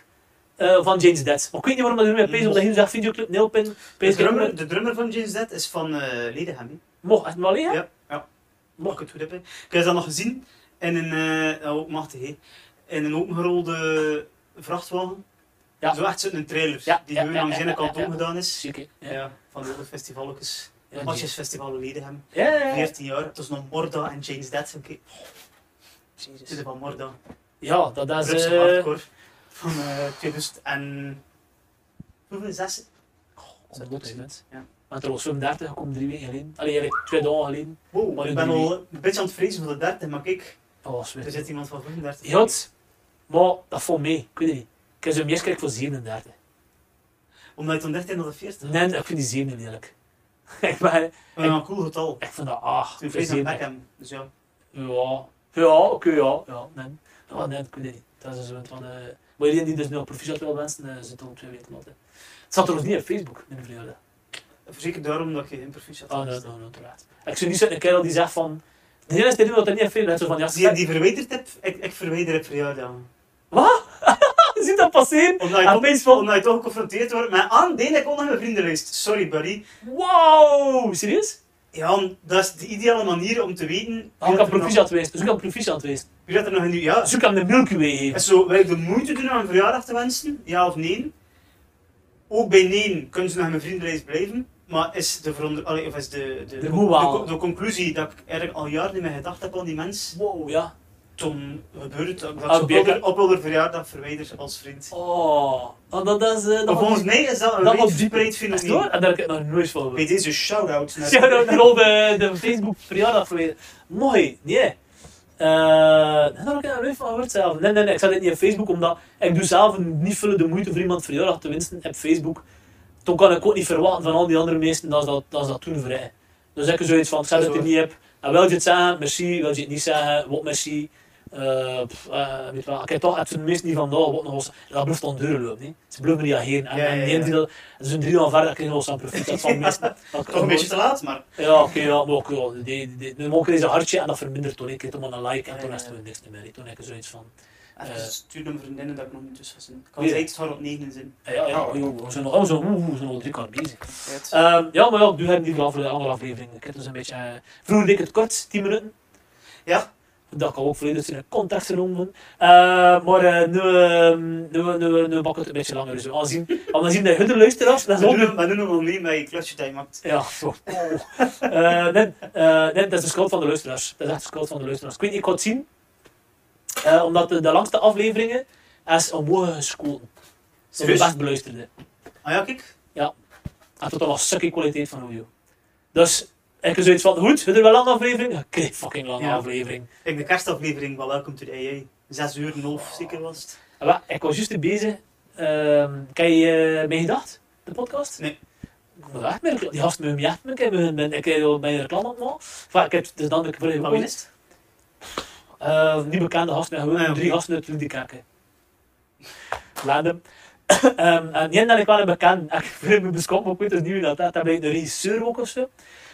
eh, van James Dead. Maar ik weet niet waarom dat ermee bezig is, omdat hij zegt videoclip, nilpin, De pin, drummer, de drummer van James Dead is van eh Ledenham. hè. Mocht het maar liggen? Ja, ja. Mag ik het goed hebben? Ik heb dat nog gezien in een, eh, oh, machtig, hè. in een opengerolde vrachtwagen. Ja. Zo echt zo'n trailer Ja, die ja, gewoon ja, langs ja, de ene ja, kant ja, ja. omgedaan is. Ziek, hè? Ja. Ja. van de festival ook eens. Ja, Matjes Festival Ledenham. Ja, ja, ja. 14 jaar, tussen nog Morda en James Dead. Oké, Jezus. dit is van Morda. Ja, dat dat Dat is... is eh, hardcore. Van eh 2000 en... Hoeveel? Zes? komt op, hè, mensen. Ja. Maar trouwens, 35 komt drie weken geleden. Allee, eigenlijk twee dagen geleden. Wow, Maar ik nu ben drie. al een beetje aan het vrezen voor de 30, maar kijk, Oh, zweet. er zit iemand van 35. Ja, het- maar dat valt mee. Ik weet het niet. Ik heb zo'n meest kijk voor 37. Omdat je toen 13 naar de 40 Nee, ik vind die 7 lelijk. ik, ben, Maar een cool getal. ik vind dat ah, 8. Toen vrees aan Beckham, dus ja. Ja, ja oké, ja. ja nee. Ja, nee, ik weet het niet. Dat is zo'n van... eh maar iedereen die dus nu een proficiat wil wensen, eh, zit al twee weken later. Het zat trouwens niet op Facebook, mijn vreugde. Voorzeker daarom dat je imperfect had. Oh, nee, nee, nee, terecht. Ik zou niet zo'n kerel die zegt van... De hele tijd dat er niet op Facebook is, zo van... Ja, Die, zie die verwijderd heb, ik, ik verwijder het verjaardag. Wat? Ziet dat passeren? Omdat je, Aan toch, Facebook? omdat je toch geconfronteerd wordt met "Ah, aan, deel ik onder mijn vriendenlijst. Sorry buddy. Wow! Serieus? Ja, dat is de ideale manier om te weten wie Ah, Ik kan dat er nog- proficiat geweest. Dus ik kan proficiat geweest. wie dat er nog in nu. Ja, Zoek aan de Milky Way geven. En zo, wil ik de moeite doen om een verjaardag te wensen? Ja of nee? Ook bij nee kunnen ze nog in mijn vriendenlijst blijven. Maar is de, veronder, allee, of is de, de, De moewaal. de- de conclusie dat ik eigenlijk al jaren niet meer gedacht heb aan die mens, Wow, ja. toen gebeurt het dat ik Ah, dat op Beker. elke- op elke verjaardag verwijder als vriend. Oh, want dat is... eh, Maar dat volgens mij is dat een dat wijd was diep. verspreid is door. fenomeen. En daar heb ik nog nooit van Bij gehoord. deze shout-out naar... Shout-out naar al de, eh, de Facebook verjaardag verwezen. Mooi, nee. Eh, daar heb ik nog nooit van gehoord zelf. Nee, nee, nee, ik zat dit niet op Facebook, omdat ik doe zelf niet vullen de moeite voor iemand verjaardag te wensen op Facebook. Toen kan ik ook niet verwachten van al die andere mensen dat ze dat, dat, ze dat toen vrij. Dus ik heb zoiets van, ik zet het er Zo. niet op. En wil je het zeggen, merci. Wil je het niet zeggen, wat merci. Eh, pff, eh, weet je wel, ik heb toch het zijn meest niet van, nou, wat nog eens. Dat blijft dan deuren lopen. hè. Ze blijven reageren. En, Ja, ja, en ja. die die dat, het is een drie jaar verder, krijgen we ons aan profiel. Dat van mensen. Dat Toch een beetje te laat, maar... ja, oké, ja, maar ook, ja, die, die, die, dan mogen ze een hartje en dat vermindert toen ik, toen maar een like en toen is het weer niks meer. hè. Toen heb ik zoiets van, En Eh. dus stuur hem vriendinnen dat ik nog niet tussen was. Ik kan Ja. zij iets van op negen zijn. Eh, Ja, ja, joh, we zijn al, oh, we zijn, oeh, we zijn al drie kwart bezig. Right. Ehm, ja, maar ja, nu hebben we die andere, andere aflevering. Ik heb dus een beetje... eh, vroeger deed ik het kort, 10 minuten. Ja. Dat kan ook volledig in een context genomen worden. Eh, maar eh, nu, ehm, nu, nu, nu, nu maak ik het een beetje langer. Dus we gaan zien, we gaan zien dat hun luisteraars, dat is Maar ook doen hem- maar doen hem wel mee met je klusje dat je maakt. ja, zo. Eh, nee, eh, nee, dat is de schuld van de luisteraars. Dat is echt de schuld van de luisteraars. Ik weet niet, ik had het zien, eh, omdat de, de langste afleveringen is omhoog geschoten. Ze de Serieus? best beluisterde. Ah ja, kijk. En tot dan was sukkie kwaliteit van audio. Dus ik heb zoiets van, goed, we doen wel een lange aflevering. Ik kreeg fucking lange Ja. aflevering. Kijk, de kerstaflevering van Welcome to the AI. Zes uur en half, zeker was het. En wa- ik was juist bezig. ehm ken je eh, Mijn Gedacht, de podcast? Nee. Ik wil echt mijn recla- Die gast met mijn ik heb mijn- mijn- ik heb al mijn reclame opgemaakt. Enfin, ik heb dus dan de vorige Maar wie is het? Eh, niet bekende gasten, maar gewoon Ah, ja, drie oké. gasten uit Ludekerken. Laandem. Ehm en die dat ik wel een bekend. Ik vind me beschot, maar ik weet dus niet wie dat is. Dat blijkt de regisseur ook of zo.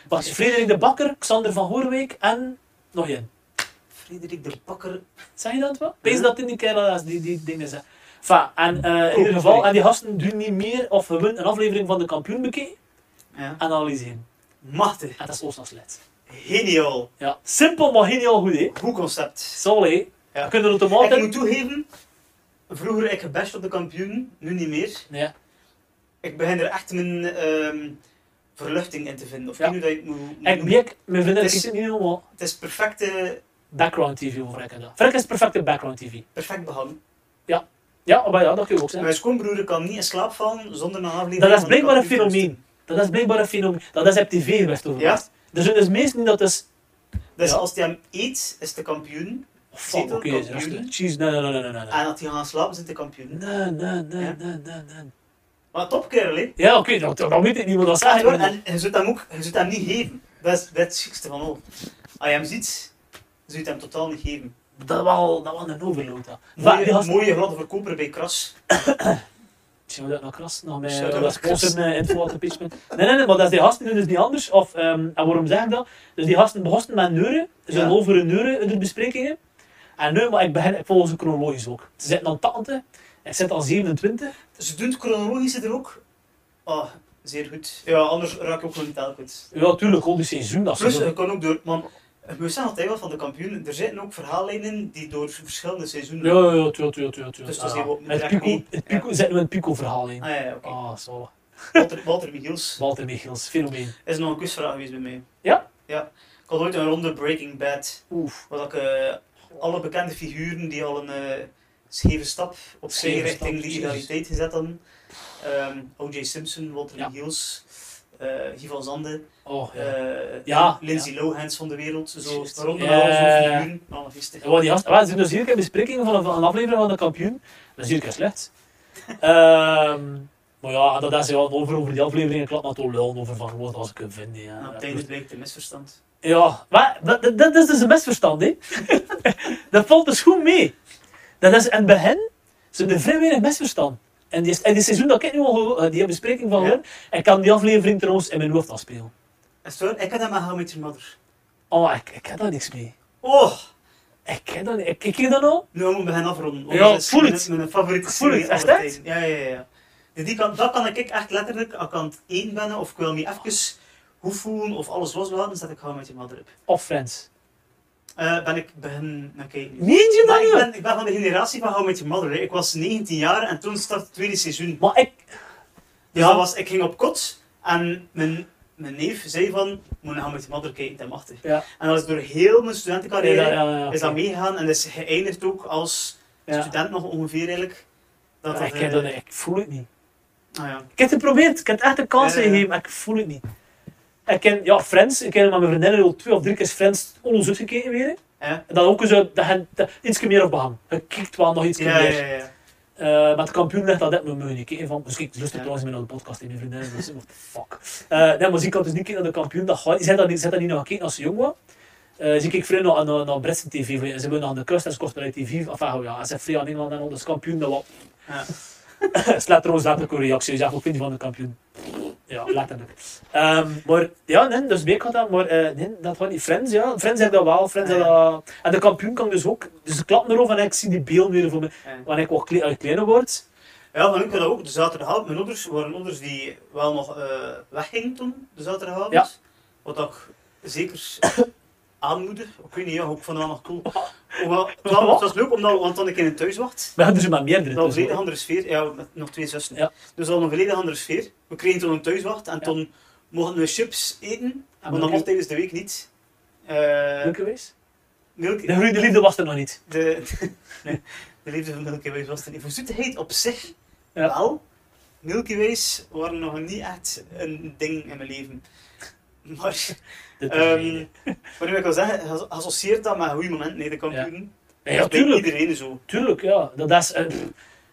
Was Frederik de Bakker, Xander van Hoornwijk en nog één. Frederik de Bakker. Zeg je dat wel? Ja. Wees dat in die kerel als die, die dingen zijn. Enfin, en eh, in ieder sorry. geval, en die gasten doen niet meer of hebben een aflevering van de kampioen bekeken Ja. en analyseren. Machtig. En dat is ons nog slecht. Geniaal. Ja, simpel maar geniaal goed hé. Goed concept. Sorry. Ja. We kunnen het hem Ik altijd... moet toegeven, vroeger ik gebashed op de kampioen, nu niet meer. Ja. Ik begin er echt mijn ehm, verluchting in te vinden. Of Ja. ik weet niet hoe dat je het moet- moet Ik noemen. merk, mijn vriendin, ik Mm. Het is- zit niet helemaal... Het is perfecte, background TV voor Frekken dan. Frekken is perfecte background TV. perfect behangen. Ja, oh, maar ja, dat kun je ook zeggen. Mijn schoonbroer kan niet in slaap vallen zonder een aflevering. Dat is van de blijkbaar een kampioen te fenomeen. Dat is blijkbaar een fenomeen. Dat is op tv geweest over. Ja. Er zijn dus mensen die dat is... luisteren. Dus Ja. als hij hem eet, is de kampioen. Oh, fuck, Zetel, oké, is kampioen. rustig. Jeez, nee, nee, nee, nee, nee, nee. En als hij gaat slapen, zit de kampioen. Nee, nee, nee, Ah. Ja. nee, nee, nee. Maar top kerel, hè. Ja, oké, dan dan weet ik niet wat dat Echt waar, zegt. En je zult hem ook, je zult hem niet geven. Dat is, dat is het ziekste van al. Als je hem ziet, zult je hem totaal niet geven. Dat was dat was een overload. dat. Maar die Mooie, gast- mooie grote verkoper bij Kras. Zou dat nog kras? Nog met Shout-out dat naar sponsor eh, info uit de pitch. Nee, nee, nee, maar dat is die gasten doen dus niet anders. Of, ehm, en waarom zeg ik dat? Dus die gasten begonnen met neuren. Ze Ja. zijn over een neuren in de besprekingen. En nu, maar ik begin, ik volg ze chronologisch ook. Ze zitten aan 80, ik zit al 27. Ze doen het chronologische er ook. Ah, zeer goed. Ja, anders raak ik ook gewoon niet telkens. Ja, tuurlijk, gewoon die seizoen. Dat ze Plus, eh, doen. je kan ook door... Man, we zijn altijd wel van de kampioen. Er zitten ook verhaallijnen in die door verschillende seizoenen... ja, ja, ja, tuurlijk, tuurlijk, tuurlijk. Dus tuurlijk. dat is Ah, heel wat- het echt pico, niet. het pico, zetten we een pico-verhaal in. Ah ja, ja, oké. Ah, zo. Walter, Walter Michiels Walter Michels, fenomeen. is nog een quizvraag geweest bij mij. Ja? Ja. Ik had ooit een ronde Breaking Bad, Oef. waar ik eh, alle bekende figuren die al een eh, scheve stap op Scheve zijn stap, richting precies. legaliteit gezet hadden. Ehm, O.J. Simpson, Walter Ja. Michiels, eh Guy van Zanden. Oh, ja. eh Ja, Lindsay Lohans van de wereld, zo Juist. rond de Ja, ja, ja. halve uur, feesten. Ja, maar die gasten, we zien dus hier een bespreking van een, van een aflevering van de kampioen. Dat is hier keer slecht. Ehm maar ja, dat is ja, over, over die aflevering. Ik laat maar toch lullen over van wat als ik hem vind. En Nou, op Ja, het einde blijkt een misverstand. ja maar dat, dat, dat is dus een misverstand. Hè? dat valt dus goed mee. Dat is, en bij hen zijn er vrij weinig misverstand. En die, en die seizoen dat ik nu al geho- eh, die bespreking van Ja. hoor, ik kan die aflevering trouwens in mijn hoofd afspelen. Is het waar? Ik heb dat met How I Met Your Mother. Oh, ik, ik heb daar niks mee. Oh, Ik ken dat niet. Ik kijk je dat nou? nu moet ik beginnen afronden. Ja, anders is voel mijn- het. Mijn favoriete Voel het, serie echt, aller echt? tijden. Ja, ja, ja, ja. Dus die kan, dat kan ik echt letterlijk, als ik aan het één ben of ik wil niet even goed voelen of alles loslaten, zet ik How I Met Your Mother op. Of Friends? Eh, ben ik begin naar kijken. Meen je dat Maar ik niet? ben, ik ben van de generatie van How I Met Your Mother. hè. Ik was 19 jaar en toen startte het tweede seizoen. Maar ik, Dus Ja. dat was, ik ging op kot en mijn, mijn neef zei van, moet nou met je mother kijken, dat mag er. Ja. En dat is door heel mijn Nee, studentencarrière, dat- ja, ja, is dat oké. meegegaan en is geëindigd ook als Ja. student nog ongeveer eigenlijk. Dat Ja, dat, ik, eh, heb dat, ik voel het niet. ah ja. Ik heb het geprobeerd, ik heb het echt een kans Ja, ja, ja. gegeven, maar ik voel het niet. Ik ken, ja, Friends, ik ken met mijn vriendinnen al twee of drie keer Friends onderzoek gekeken weer. Ja. En dan ook eens, eh, dat hen dat- iets meer op behang. Je kijkt wel nog iets Ja, meer. ja, ja, ja. Eh, maar het kampioen legt dat net met me niet kijken van, misschien lust ik Ja. trouwens meer naar de podcast in mijn vriendinnen, dus what the fuck. Eh nee, maar ze kan dus niet kijken naar de kampioen, dat gaat, ze had dat niet, ze had dat niet nog gekeken als ze jong was. Eh ze keek vrij naar, naar, naar Britse tv, ze hebben nog aan de kust en ze kost naar tv, enfin ah, ja, ze zijn vrij aan Engeland en al, dus kampioen, dat was Ja. Slaat trouwens later ook een reactie. Je zegt, wat vind je van de kampioen? Ja, laat dat ook. Ehm, maar ja, nee, dus Beek had dat, maar eh, nee, dat waren die Friends, ja. Friends heb dat wel, Friends Ah, heb dat... En de kampioen kan dus ook, dus ik klap erover en ik zie die beelden weer voor me. Ja. Wanneer ik wat kle- eh, kleiner word, Ja, maar ik had dat ook de zaterdagavond. Mijn ouders waren ouders die wel nog eh, weggingen toen, de zaterdagavond. Ja. Wat ik zeker aanmoedig. Ik weet niet, ja, ook vond dat nog cool. Hoewel, het was- het was leuk, omdat, want dan ik in het thuis wacht. we hebben er zo maar meerdere. dus Dat was een tussen, volledig hoor. andere sfeer. Ja, met nog twee zussen. Ja. Dus dat was een volledig andere sfeer. We kregen toen een thuiswacht en Ja. toen mochten we chips eten, En want dat Milky- mocht tijdens de week niet. Eh Leuk geweest? Milky, De groeiende liefde was er nog niet. de, nee, de liefde van Milky Way was er niet. Voor zoetigheid op zich Ja. wel. Milky Ways waren nog niet echt een ding in mijn leven. Maar, Dit is ehm, een- maar nu ik wil zeggen, ge- associeert dat met een goed moment, nee, de kampioen. Nee, ja, Dat deed tuurlijk. iedereen zo. Tuurlijk, ja. Dat, dat is, eh, pff.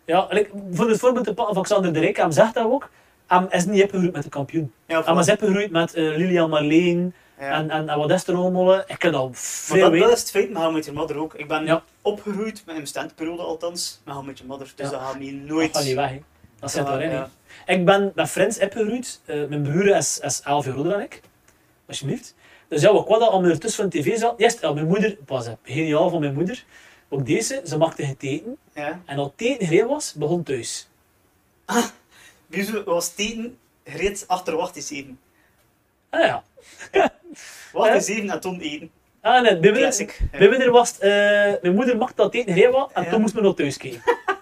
ja, en ik, voor het voorbeeld te pakken van Xander de Rijk, hem zegt dat ook. Hem is niet opgegroeid met de kampioen. Ja, Hem voilà. is opgegroeid met eh, Lilian Marleen Ja. Ah, en, en, en wat is er allemaal. eh, Ik ken al Maar veel dat, dat weten. is het feit met How I Met Your Mother ook. Ik ben Ja. opgegroeid met een standperiode althans, met How I Met Your Mother. Dus Ja. dat gaat me Dat nooit... gaat niet weg, hè. Dat zit Ja, erin. hè. ja. Ik ben met Friends opgegroeid. Eh, mijn broer is, is 11 jaar ouder dan ik. Alsjeblieft. Dus ja, we kwamen al om ertussen van tv zat. Eerst, ja, mijn moeder, was geniaal van mijn moeder. Ook deze, ze maakte geen teken. Ja. En al teken gereed was, begon thuis. Buze was teken gereed achter wacht is eten. Ah ja. Wacht Ja. is eten en toen eten. Ah nee, bij mij- Classic. Ja. Mijn moeder was, eh, mijn moeder maakte dat teken heel wat en Ja. toen moest men nog thuis kijken.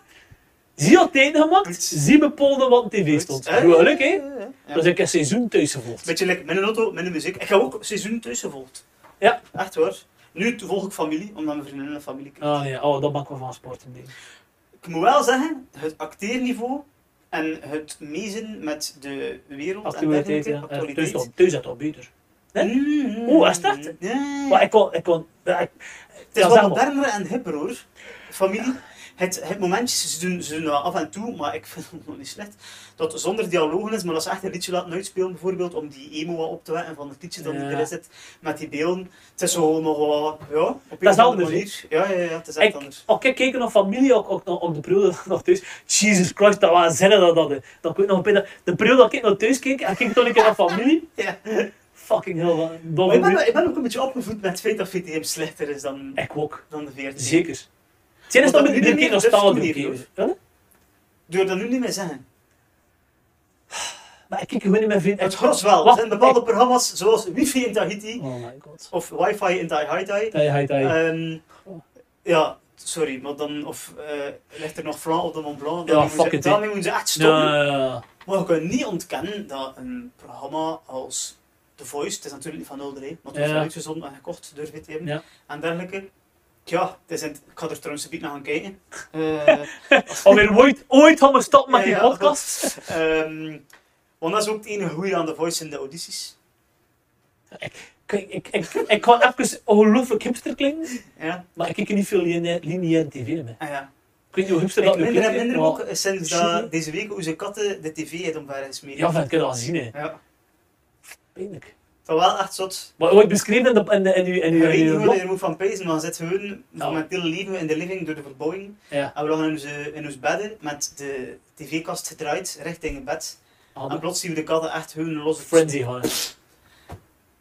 Zie dat teken gemaakt, Goed. zie bepaalde wat op tv Goed. stond. Ja, ja, Goed geluk, hè? ja, ja, ja. Dat ik een seizoen thuis gevolgd. Beetje lekker met een auto, met een muziek. Ik heb ook seizoen tussen gevolgd. Ja. Echt waar. Nu volg ik familie, omdat mijn vriendin een familie krijgt. Ah nee, oh, dat ben ik wel van sporten. nee. Ik moet wel zeggen, het acteerniveau en het meezen met de wereld Actualiteit, en ja. dergelijke, Eh, Thuis actualiteit. dat- thuis had dat beter. hè? Mm. Oeh, is het echt? Ja. Maar ik kon, ik kon, ja, ik- Het is Ja, wel zeg maar. moderner en hipper hoor. Familie. Het, het momentje, ze doen, ze doen dat af en toe, maar ik vind het nog niet slecht. Dat zonder dialogen is, maar dat ze echt een liedje laten uitspelen bijvoorbeeld, om die emo wat op te wekken van het liedje dat Ja. niet erin zit, met die beelden. Het is zo nog wat, ja, op een is of andere anders, manier. Ja, ja, ja, het is echt ik, anders. ook ik keek naar familie, ook, ook, ook de periode nog thuis. Jesus Christ, dat was zinnen dat dat. hè. Dat ik weet nog een beetje- de periode dat ik naar thuis keek en keek toen ik naar familie. Ja. Fucking hell, wat een domme Maar ik, ben, buurt. ik ben ook een beetje opgevoed met het feit dat VTM slechter is dan, Ik ook. dan de 14. Zeker. Zijn is Want dat dat met nu iedere niet keer meer als durft taal toen doen, hier, oké. Ja, Door dat nu niet meer zeggen. Maar ik kijk gewoon in mijn vriend. Het ik- gros wel. Er Wacht, zijn bepaalde programma's, zoals wifi in Tahiti, ik- Oh my god. of wifi in Tahiti, Hey, hey, hey. Ehm, ja, sorry, maar dan of, eh, ligt er nog Flan op de Mont Blanc? Ja, Dan moeten fuck ze, it, daarmee moeten ze echt stoppen. Ja, ja, ja. Maar je kunt niet ontkennen dat een programma als The Voice, het is natuurlijk niet van Olderij, maar het was Ja. wel uitgezonden en gekocht door VTM Ja. en dergelijke. Ja, het is in- ik ga er trouwens een beetje naar gaan kijken. Eh, Alweer ooit, ooit gaan we stoppen met Ja, die ja. podcast. ehm, want dat is ook het enige goede aan The Voice in de audities. Kijk, ik, ik, ik ga even ongelooflijk hipster klinken, Ja, maar ik kijk niet veel lineaire lineaire tv meer. ah, ja. Ik weet niet hoe hipster Ik dat nu minder en klinkt. minder maar- ook sinds Sorry. dat deze week hoe ze katten de tv heeft omver gesmeten. Ja, van, ik heb dat al gezien, hè. ja. Pijnlijk. Dat was wel echt zot. Maar ooit beschreven in, de, in, de, in, uw- in, Je uw- weet in niet uw hoe je blog. er moet van pezen, maar zit gewoon momenteel leven we in de living door de verbouwing. Ja. En we lagen in onze, in ons bedden met de tv-kast gedraaid richting het bed. En Ah, plots zien we de katten echt hun los op- Frenzy gewoon.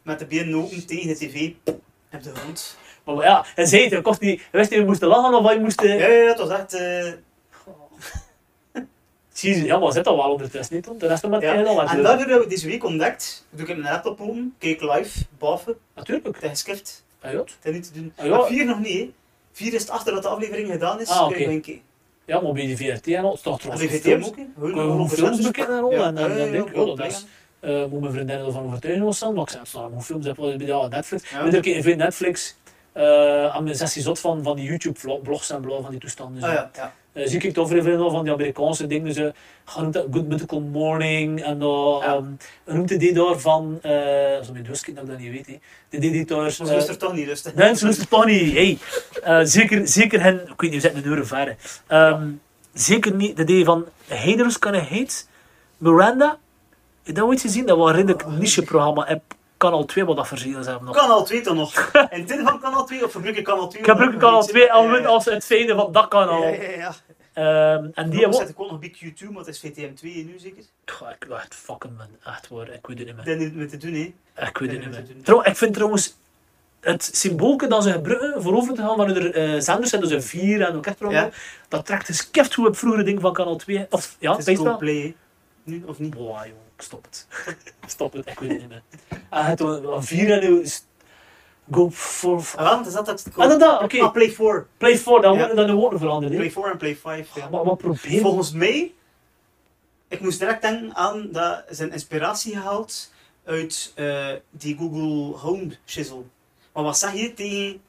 met de benen open tegen de tv op de grond. Maar ja, en zei het, je kost niet, je wist niet, je moest lachen of wat je moest... eh, Ja, ja, dat was echt... eh, Jezus, ja, maar zit al wel ondertussen niet, hoor. De rest van het ja. einde al aan het En doen. daardoor hebben we deze week ontdekt, doe ik heb mijn laptop open, keek live, boven, Natuurlijk. het is geskipt, Ah, ja. het is niet te doen. Ah, ja. Maar vier nog niet, hè. Vier is het achter dat de aflevering gedaan is, Ah, kun je oké. gewoon kijken. Ja, maar bij die VRT en al, het staat En trouwens de op VTM films. ook, hè. Ik Gewoon wil gewoon over films zenders. bekijken en al, Ja, en dan ja, ja, denk ik, ja, oh, dat is... eh, moet mijn vriendin ervan overtuigen of zo, maar ik zei, het staan, hoe films heb je bij ja, Netflix? Ja. Iedere keer veel Netflix, eh aan mijn sessie zot van, van die YouTube-blogs en blauw van die toestanden. Ah, ja, ja. Eh, zie ik toch veel veel van die Amerikaanse dingen. Ze gaan dat Good Mythical Morning en dan Ja. ehm noemt de die daar van, eh zo mijn doosje dat ik dat niet weet, hè. de die die daar... Ze lust er toch niet, dus... Nee, ze lust het toch niet. Hey. Eh, zeker, zeker hen, ik weet niet, we zitten een uur ver. hè. Ehm, zeker niet de die van Haters kunnen heet. Miranda, heb je dat ooit gezien? Dat was een redelijk niche-programma. Ik kan al twee wat dat verzelen hebben. nog. Kanaal 2 dan nog. In dit van Kanaal 2 of Verbruiken Kanaal 2? Ik heb gelukkig al twee al win als het fijne van dat kanaal. Ja, ja, ja. Ehm, en die Die hebben zet ik ook nog bij Q2, maar het is VTM2 nu zeker. Goh, ik echt fucking man, echt waar, ik weet het niet Ik meer. denk niet meer te doen, hè. Ah, Ik weet het Nee, niet dat is meer. het. Trouw, ik vind trouwens het symboolke dat ze gebruiken voor over te gaan, waar er eh, zenders zijn, dus een 4 en ook echt Ja. ja. dat trekt dus keft hoe op vroeger ding van kanaal 2, of ja, Het is Facebook. play, hè. Nu, of niet? Boah, joh, ik stop het. stop het, ik weet het niet meer. Ah, het was een 4 en nu is- go for Ah, wel, het is dat dat Ah, dat, dat, oké. Ah, Play 4. play 4, dan Ja. worden dan de woorden veranderd. hè. Play 4 en Play 5, ja. Goh, Maar Ah, wat probeer Volgens mij, ik moest direct denken aan dat zijn inspiratie gehaald uit eh, die Google Home shizzle. Maar wat zeg je tegen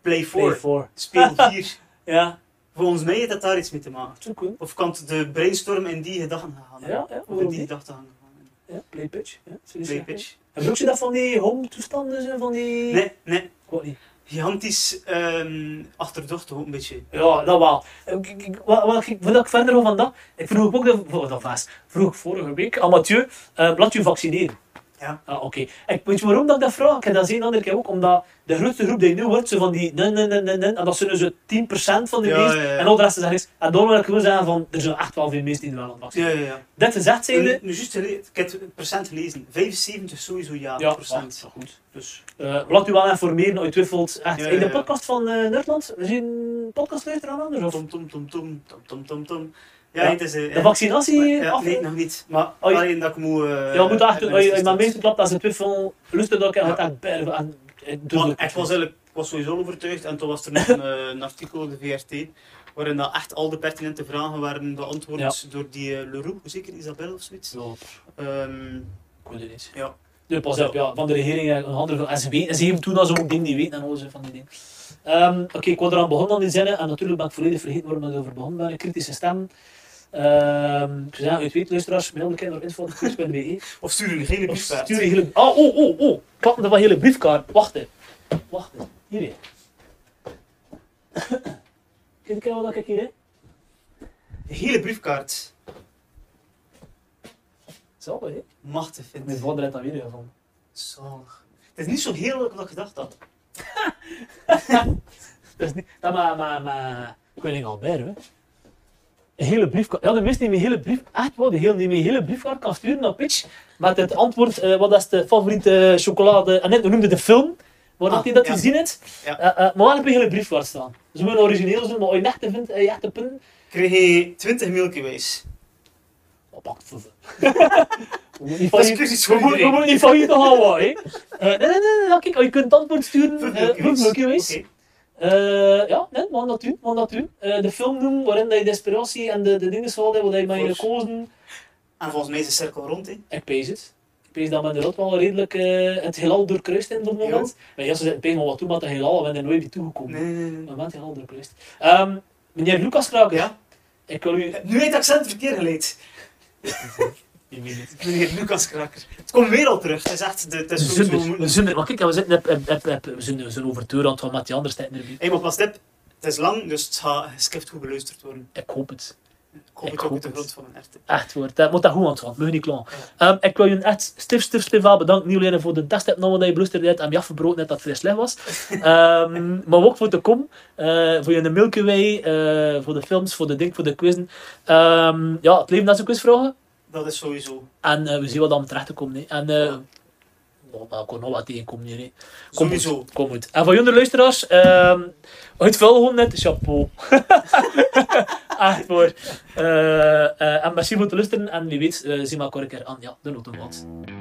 Play 4? play 4? Speel 4. Ja, Volgens mij heeft dat daar iets mee te maken. zo cool. Of kan het de brainstorm in die gedachten gaan? Ja, ja, of in waarom die niet? gedachten gaan. gaan. Ja, play pitch. Ja, zoiets, Play ja. pitch. En broek je dat van die home-toestanden, zo, van die... Nee, nee. Ik weet niet. Gigantisch ehm achterdochtig ook een beetje. Ja, dat wel. Ik, ik, ik- wat, wat, ik- voordat ik verder ga van dat, ik vroeg ook, de, voor- dat was, vroeg ik vorige week aan Mathieu, eh, laat je vaccineren. Ja. Ah, oké. Ik- Weet je waarom dat ik dat vraag? Ik heb dat gezien een andere keer ook, omdat de grootste groep die nu wordt, ze van die nee, nee, nee, nee, nee, en dat zijn dus 10% van de Ja, mensen, ja, ja. en al de rest is er niks. En daarom wil ik gewoon zeggen van, er zijn echt wel veel mensen die er wel aan het vaccineren. Ja, ja, ja. Dat gezegd En, zijnde, nu juist gele- ik heb het procent gelezen. 75 sowieso ja, Ja, procent. wacht, goed. Dus, eh, laat u wel informeren, uit twijfelt. Echt. Ja, ja, In de ja. podcast van eh Nerdland, is je een podcast luisteren aan anders? Of? Tom, tom, tom, tom, tom, tom, tom, tom. Ja, Ja. het is... eh, De vaccinatie maar- ja, af? Nee, nog niet. Maar Oh, je- alleen dat ik moet... eh, Ja, moet achter, het als je is mijn dat. meeste klapt als een twijfel, lust het ook en Ja. wat aan bergen aan. eh, dus Want ook- ik was eigenlijk ik was sowieso overtuigd en toen was er nog een, eh, een artikel op de VRT waarin dat echt al de pertinente vragen waren beantwoord door die eh, Leroux, zeker Isabel of zoiets. Zo, Ehm, ik weet het niet. Ja. Dus pas op, ja, van de regering en andere van SB. En ze hebben toen al zo'n ding die weten en alles van die dingen. Ehm, Oké, ik wou eraan begonnen aan die zinnen en natuurlijk ben ik volledig vergeten waarom we erover begonnen waren. Kritische stem. Ehm dus ja, u weet luisteraars, mail de kinderen op info.koers.be. of stuur een hele Of brief uit. Stuur een hele... Oh, oh, oh, oh. Klappen er van hele briefkaart. Wacht even. Wacht even. Hier, hè. Kijk eens wat ik hier heb. Een hele briefkaart. Zo, hè. Machtig vind Mijn ik. vader heeft dat weer gevonden. Zalig. Het is niet zo heel leuk als ik gedacht had. Dat is niet... Dat maar, maar, maar... Koning Albert, hè. Een hele briefkaart. Ja, de mensen die mijn hele brief... Echt wel, die, heel, die mijn hele briefkaart kan sturen naar Pitch. Met het antwoord, eh, wat is de favoriete eh, chocolade... Ah, En net, we noemden de film. Waar dat Ah, hij dat ja. gezien heeft. Ja. Eh, eh, maar wel op een hele briefkaart staan. Ze moeten origineel zijn, maar als je het echte vindt, eh, je echte punten... Kreeg je 20 Milky Ways. Wat Oh, pak voor ze? We moeten niet Dat is failliet- kritisch we voor moeten- we iedereen. moeten niet van te gaan worden, hè? Eh, nee, nee, nee, nee, kijk, je kunt het antwoord sturen. eh, Milky Voor Ways. Milky Ways. Oké. Eh, ja, nee, man dat u, man dat u. Eh, de film noemen waarin dat je de inspiratie en de, de dingen hadden, wat je met je Klopt. gekozen. En volgens mij is de cirkel rond, hè. Ik pees het. Ik pees dat men er ook wel redelijk eh, het heelal doorkruist in dat moment. Maar ja, ze zitten pees maar wat toe met het heelal, we zijn er nooit bij toegekomen. Nee, nee, nee. Maar we hebben het heelal doorkruist. Ehm, meneer Lucas Kraker, Ja? ik wil u... Nu heeft het accent verkeerd geleid. Ik weet het. Meneer Lucas Kraker. Het komt weer al terug. Het is echt... de- Het is sowieso Zunder, moeilijk. zunder. Maar kijk, we zitten op, op, op, op, we zijn, we zijn overtuigd aan het gaan met die andere stijden erbij. Hé, maar pas dit. Het is lang, dus het gaat gescript goed beluisterd worden. Ik hoop het. Ik hoop Ik het ook hoop uit de het. grond van mijn hart. Echt hoor. Dat moet dat goed aan het gaan. Moet je niet klaar. Ehm, ik wil je echt stif, stif, stif wel bedanken. Niet alleen voor de testopname dat je blusterde hebt en je afgebroken hebt dat het vrij slecht was. Ehm, maar ook voor de kom. eh, voor je Milky Way. eh, voor de films, voor de ding, voor de quizzen. Ehm, ja, het leven dat is een quizvragen. Dat is sowieso. En eh, we zien wat dan terecht te komen. hè. En... eh Ja. oh, maar ik kon nog wat tegenkomen hier. hè. Kom goed. Sowieso. Kom goed. En voor jullie luisteraars, ehm het vuil gewoon net, chapeau. Echt hoor. Eh, eh, en merci voor het luisteren en wie weet eh, zien we elkaar een keer aan. Ja, de notenblad.